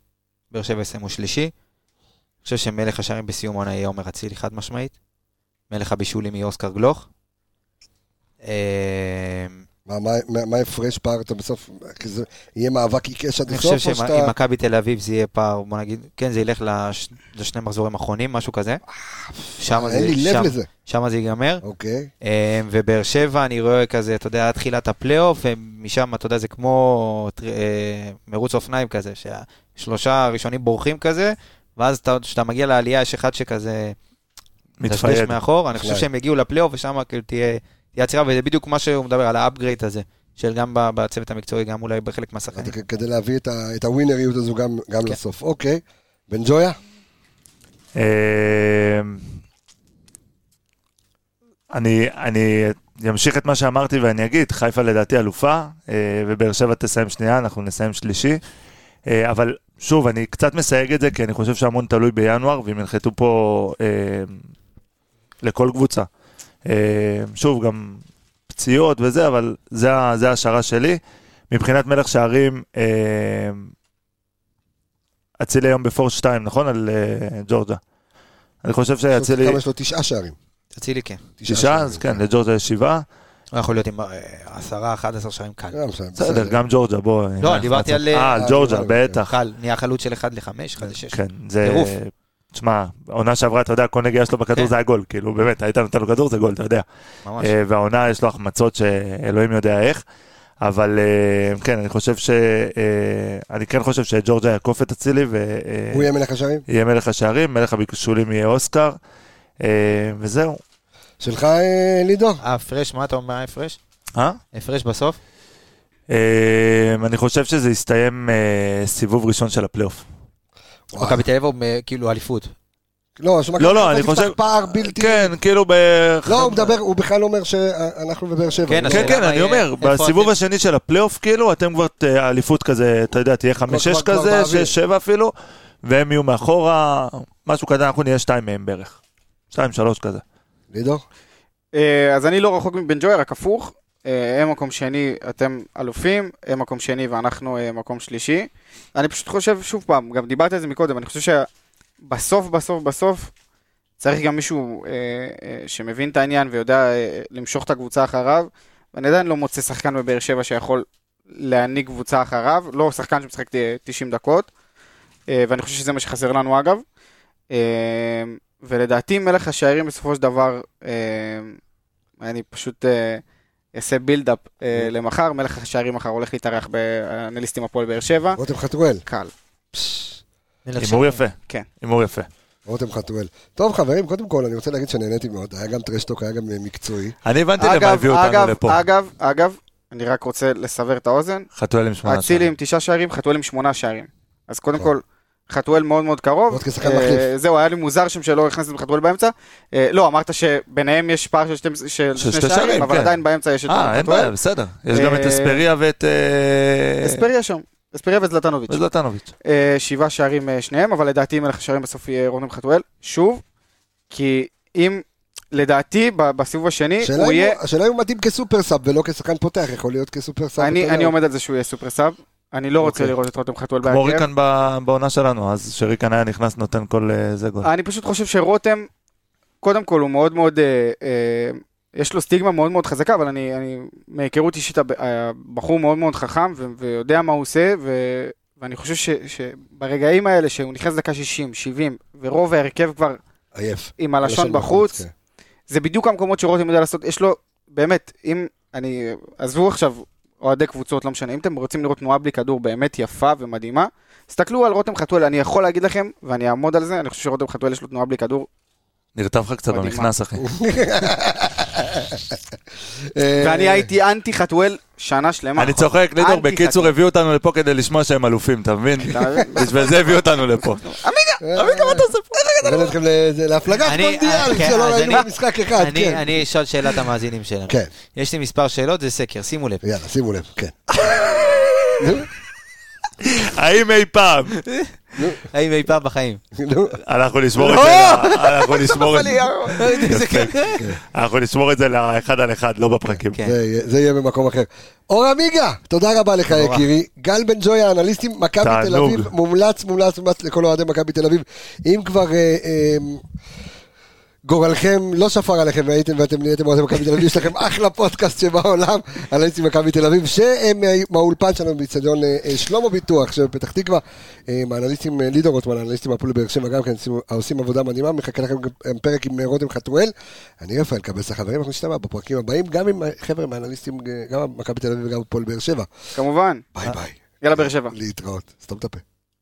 D: באר שבע יסיימו שלישי. אני חושב שמלך השערים בסיום העונה יהיה עומר אצילי חד משמעית. מלך הבישולים יהיה אוסקר גלוך. אה,
A: מה- מה- מה- מה הפרש פער אתה בסוף? אה, כי זה יהיה מאבק עיקש עד
D: אני חושב
A: הסוף או
D: שעם
A: שאתה...
D: מכבי תל אביב זה יהיה פער, בוא נגיד, כן, זה ילך לש- לשני מחזורים אחרונים, משהו כזה. שם זה,
A: אה, אין לי לב
D: שם-
A: לזה.
D: שם זה ייגמר.
A: אוקיי.
D: אה, ובאר שבע, אני רואה כזה, אתה יודע, עד תחילת הפלייאוף, ומשם, אתה יודע, זה כמו טר- אה, מרוץ אופניים כזה, שהשלושה הראשונים בורחים כזה, ואז אתה- כשאתה מגיע לעלייה, יש אחד שכזה
C: מתפייד.
D: מאחור, אני חושב
A: בכלל.
D: שהם יגיעו לפלייאוף, ושם כאילו תהיה תהיה עצירה, וזה בדיוק מה שהוא מדבר, על האפגרייט הזה, של גם ב- בצוות המקצועי, גם אולי בחלק מהשחקנים.
A: אתה- כן. כדי להביא את ה- את הווינריות הזו גם- גם
D: כן.
A: לסוף. אוקיי. בן ג'ויה?
C: אה, אני, אני אמשיך את מה שאמרתי ואני אגיד, חיפה לדעתי אלופה, אה, ובאר שבע תסיים שנייה, אנחנו נסיים שלישי. אה, אבל שוב, אני קצת מסייג את זה, כי אני חושב שהמון תלוי בינואר, ואם ינחתו פה אה, לכל קבוצה. אה, שוב, גם פציעות וזה, אבל זה, ה- זה ההשערה שלי. מבחינת מלך שערים, אה, אצילי היום בפורס 2, נכון? על אה, ג'ורג'ה. אני חושב שאצילי...
A: כמה יש לו תשעה שערים.
D: תצילי כן.
C: שישה,
A: שערים. אה,
C: אז כן, לג'ורג'ה יש שבעה.
D: הוא יכול להיות עם אה, עשרה, 11 שערים קל.
A: לא, בסדר,
C: בסדר,
A: בסדר.
C: גם ג'ורג'ה, בוא.
D: לא, דיברתי על-
C: אה, על ג'ורג'ה,
A: אה,
C: בטח.
D: קל, נהיה חלוץ של 1 ל-5, 1 ל-6.
C: כן, זה...
D: טירוף.
C: תשמע, עונה שעברה, אתה יודע, כל נגיעה שלו בכדור
D: כן.
C: זה היה גול, כאילו, באמת, היית נותן לו כדור זה גול, אתה יודע.
D: ממש.
C: אה, והעונה יש לו החמצות שאלוהים יודע איך. אבל אה, כן, אני חושב ש... אה, אני כן חושב שג'ורג'ה יעקוף את אצילי, ו... אה,
A: הוא יהיה מלך השערים?
C: יהיה מלך השערים, מלך הביקושולים יהיה אוסקר, אה, וזהו.
A: שלך, אה, לידו?
D: ההפרש, מה אתה אומר ההפרש?
C: אה?
D: הפרש בסוף?
C: אה, אני חושב שזה יסתיים אה, סיבוב ראשון של הפלייאוף.
A: וואי.
D: מכבי תל אביב הוא אה, כאילו אליפות.
A: לא, שמע,
C: לא,
A: אתה
C: אני
A: תפתח
C: חושב-
A: פער בלתי...
C: כן, כאילו ב...
A: לא, הוא מדבר, הוא בכלל אומר שאנחנו בבאר שבע.
D: כן,
A: הוא
D: אז
A: לא-
C: כן, כן,
D: למה
C: אני
D: יהיה-
C: אומר,
D: איפה
C: בסיבוב
D: אתם?
C: השני של הפלייאוף, כאילו, אתם כבר, ת- האליפות כזה, אתה יודע, תהיה
A: כבר-
C: 5-6
A: כבר
C: כזה,
A: באוויר.
C: 6-7 אפילו, והם יהיו מאחורה, משהו קטן, אנחנו נהיה 2 מהם בערך. 2-3 כזה.
A: לידו?
B: אה, אז אני לא רחוק מבן ג'וי, רק הפוך. אה, הם מקום שני, אתם אלופים, הם מקום שני ואנחנו אה, מקום שלישי. אני פשוט חושב, שוב פעם, גם דיברתי על זה מקודם, אני חושב שבסוף, בסוף, בסוף, צריך גם מישהו אה, אה, שמבין את העניין ויודע אה, למשוך את הקבוצה אחריו. ואני עדיין לא מוצא שחקן בבאר שבע שיכול להנהיג קבוצה אחריו, לא שחקן שמשחק אה, 90 דקות, אה, ואני חושב שזה מה שחסר לנו אגב. אה, ולדעתי מלך השערים בסופו של דבר, אה, אני פשוט אה, אעשה בילדאפ אה, למחר, מלך השערים מחר הולך להתארח באנליסטים הפועל באר שבע.
A: רותם חתואל.
B: קל.
C: הימור יפה.
B: כן.
C: הימור יפה.
A: רותם חתואל. טוב, חברים, קודם כל, אני רוצה להגיד שנהניתי מאוד. היה גם טרשטוק, היה גם אה, מקצועי.
C: אני הבנתי למה הביאו אותנו
B: אגב,
C: לפה.
B: אגב, אגב, אני רק רוצה לסבר את האוזן,
C: חתואל עם שמונה
B: אצילי
C: שערים.
B: עם תשעה שערים, חתואל עם שמונה שערים. אז קודם
A: טוב.
B: כל, חתואל מאוד מאוד קרוב.
A: עוד כשחקן
B: אה,
A: מחליף.
B: זהו, היה לי מוזר שם שלא הכנסתם חתואל באמצע. אה, לא, אמרת שביניהם יש פער של שתי- של
C: של
B: שני
C: שתי שערים,
B: שערים, אבל
C: כן.
B: עדיין באמצע יש את
C: אה, אין בעיה,
B: חתואל.
C: בסדר. יש גם את
B: אה,
C: אספריה ואת... אה,
B: אספריה שם, אספריה וזלטנוביץ'.
C: וזלטנוביץ'.
B: אה, שבעה שערים אה, שניהם, אבל לדעתי מלך השערים בסוף יהיה רותם חתואל, שוב, כי אם, לדעתי, ב- בסיבוב השני,
A: השאלה
B: אה, הוא
A: אם
B: יהיה,
A: הוא- השאלה אם הוא מתאים כסופר סאב ולא כשחקן פותח, יכול להיות כסופר סאב.
B: אני-
A: אתה יודע.
B: אני עומד על זה שהוא יהיה סופר סאב, אני לא רוצה
C: אוקיי.
B: לראות את רותם חתואל
C: כמו
B: בהרכב,
C: ריקן ב- בעונה שלנו, אז שריקן היה נכנס, נותן כל אה, זה גול.
B: אני פשוט חושב שרותם, קודם כל הוא מאוד מאוד, אה, אה, יש לו סטיגמה מאוד מאוד חזקה, אבל אני, אני מהיכרות אישית, הב- אה, הבחור מאוד מאוד חכם ו- ויודע מה הוא עושה, ו... ואני חושב ש, שברגעים האלה שהוא נכנס לדקה 60, 70, ורוב ההרכב כבר
A: עייף.
B: עם הלשון בחוץ,
A: כן.
B: זה בדיוק המקומות שרותם יודע לעשות, יש לו, באמת, אם, אני, עזבו עכשיו אוהדי קבוצות, לא משנה, אם אתם רוצים לראות תנועה בלי כדור באמת יפה ומדהימה, תסתכלו על רותם חתואל, אני יכול להגיד לכם, ואני אעמוד על זה, אני חושב שרותם חתואל יש לו תנועה בלי כדור,
C: נרטב לך קצת
B: מדהימה.
C: במכנס, אחי.
A: אה,
B: ואני הייתי אנטי חתואל שנה שלמה.
C: אני צוחק, לידור,
B: אנטי
C: בקיצור הביאו אותנו לפה כדי לשמוע שהם אלופים, אתה מבין? בשביל זה הביאו אותנו לפה.
A: אה, הבאנו אתכם לזה- להפלגת
D: אני-
A: מונדיאל,
D: אה, כן,
A: שלא
D: אז
A: ראינו
D: אני-
A: משחק אחד.
D: אני-
A: כן.
D: אני אשאל שאלת המאזינים שלנו.
A: כן,
D: יש לי מספר שאלות, זה סקר, שימו לב.
A: יאללה, שימו לב, כן.
C: האם אי פעם
D: האם אי פעם בחיים?
A: נו,
C: אנחנו נשמור את זה ל- אנחנו נשמור את- יפה.
A: כן.
C: אנחנו נשמור את זה לאחד על אחד, לא בפרקים.
D: כן.
A: זה יהיה- זה יהיה במקום אחר. אור עמיגה, תודה רבה לך
D: תודה.
A: יקירי. גל בן ג'וי האנליסטים, מכבי תל
C: תענוג.
A: אביב, מומלץ, מומלץ, מומלץ לכל אוהדי מכבי תל אביב. אם כבר... אה, אה, גורלכם לא שפר עליכם והייתם ואתם נהייתם אוהדי מכבי תל אביב, יש לכם אחלה פודקאסט שבעולם על אצלי מכבי תל אביב, שהם אה, מהאולפן שלנו באיצטדיון אה, אה, שלמה ביטוח שבפתח תקווה, אה, עם האנליסטים אה, לידו רוטמן, האנליסטים מהפועל באר שבע גם כן עושים- עושים עבודה מדהימה, מחכה לכם גם אה, פרק עם אה, רותם חתואל, אני רפאל קבס החברים, אנחנו נשתמע בפרקים הבאים, גם עם חבר'ה מהאנליסטים, אה, גם מכבי תל אביב וגם הפועל באר שבע,
B: כמובן.
A: ביי ביי,
B: יאללה, באר שבע.
A: להתראות, סתום את הפה.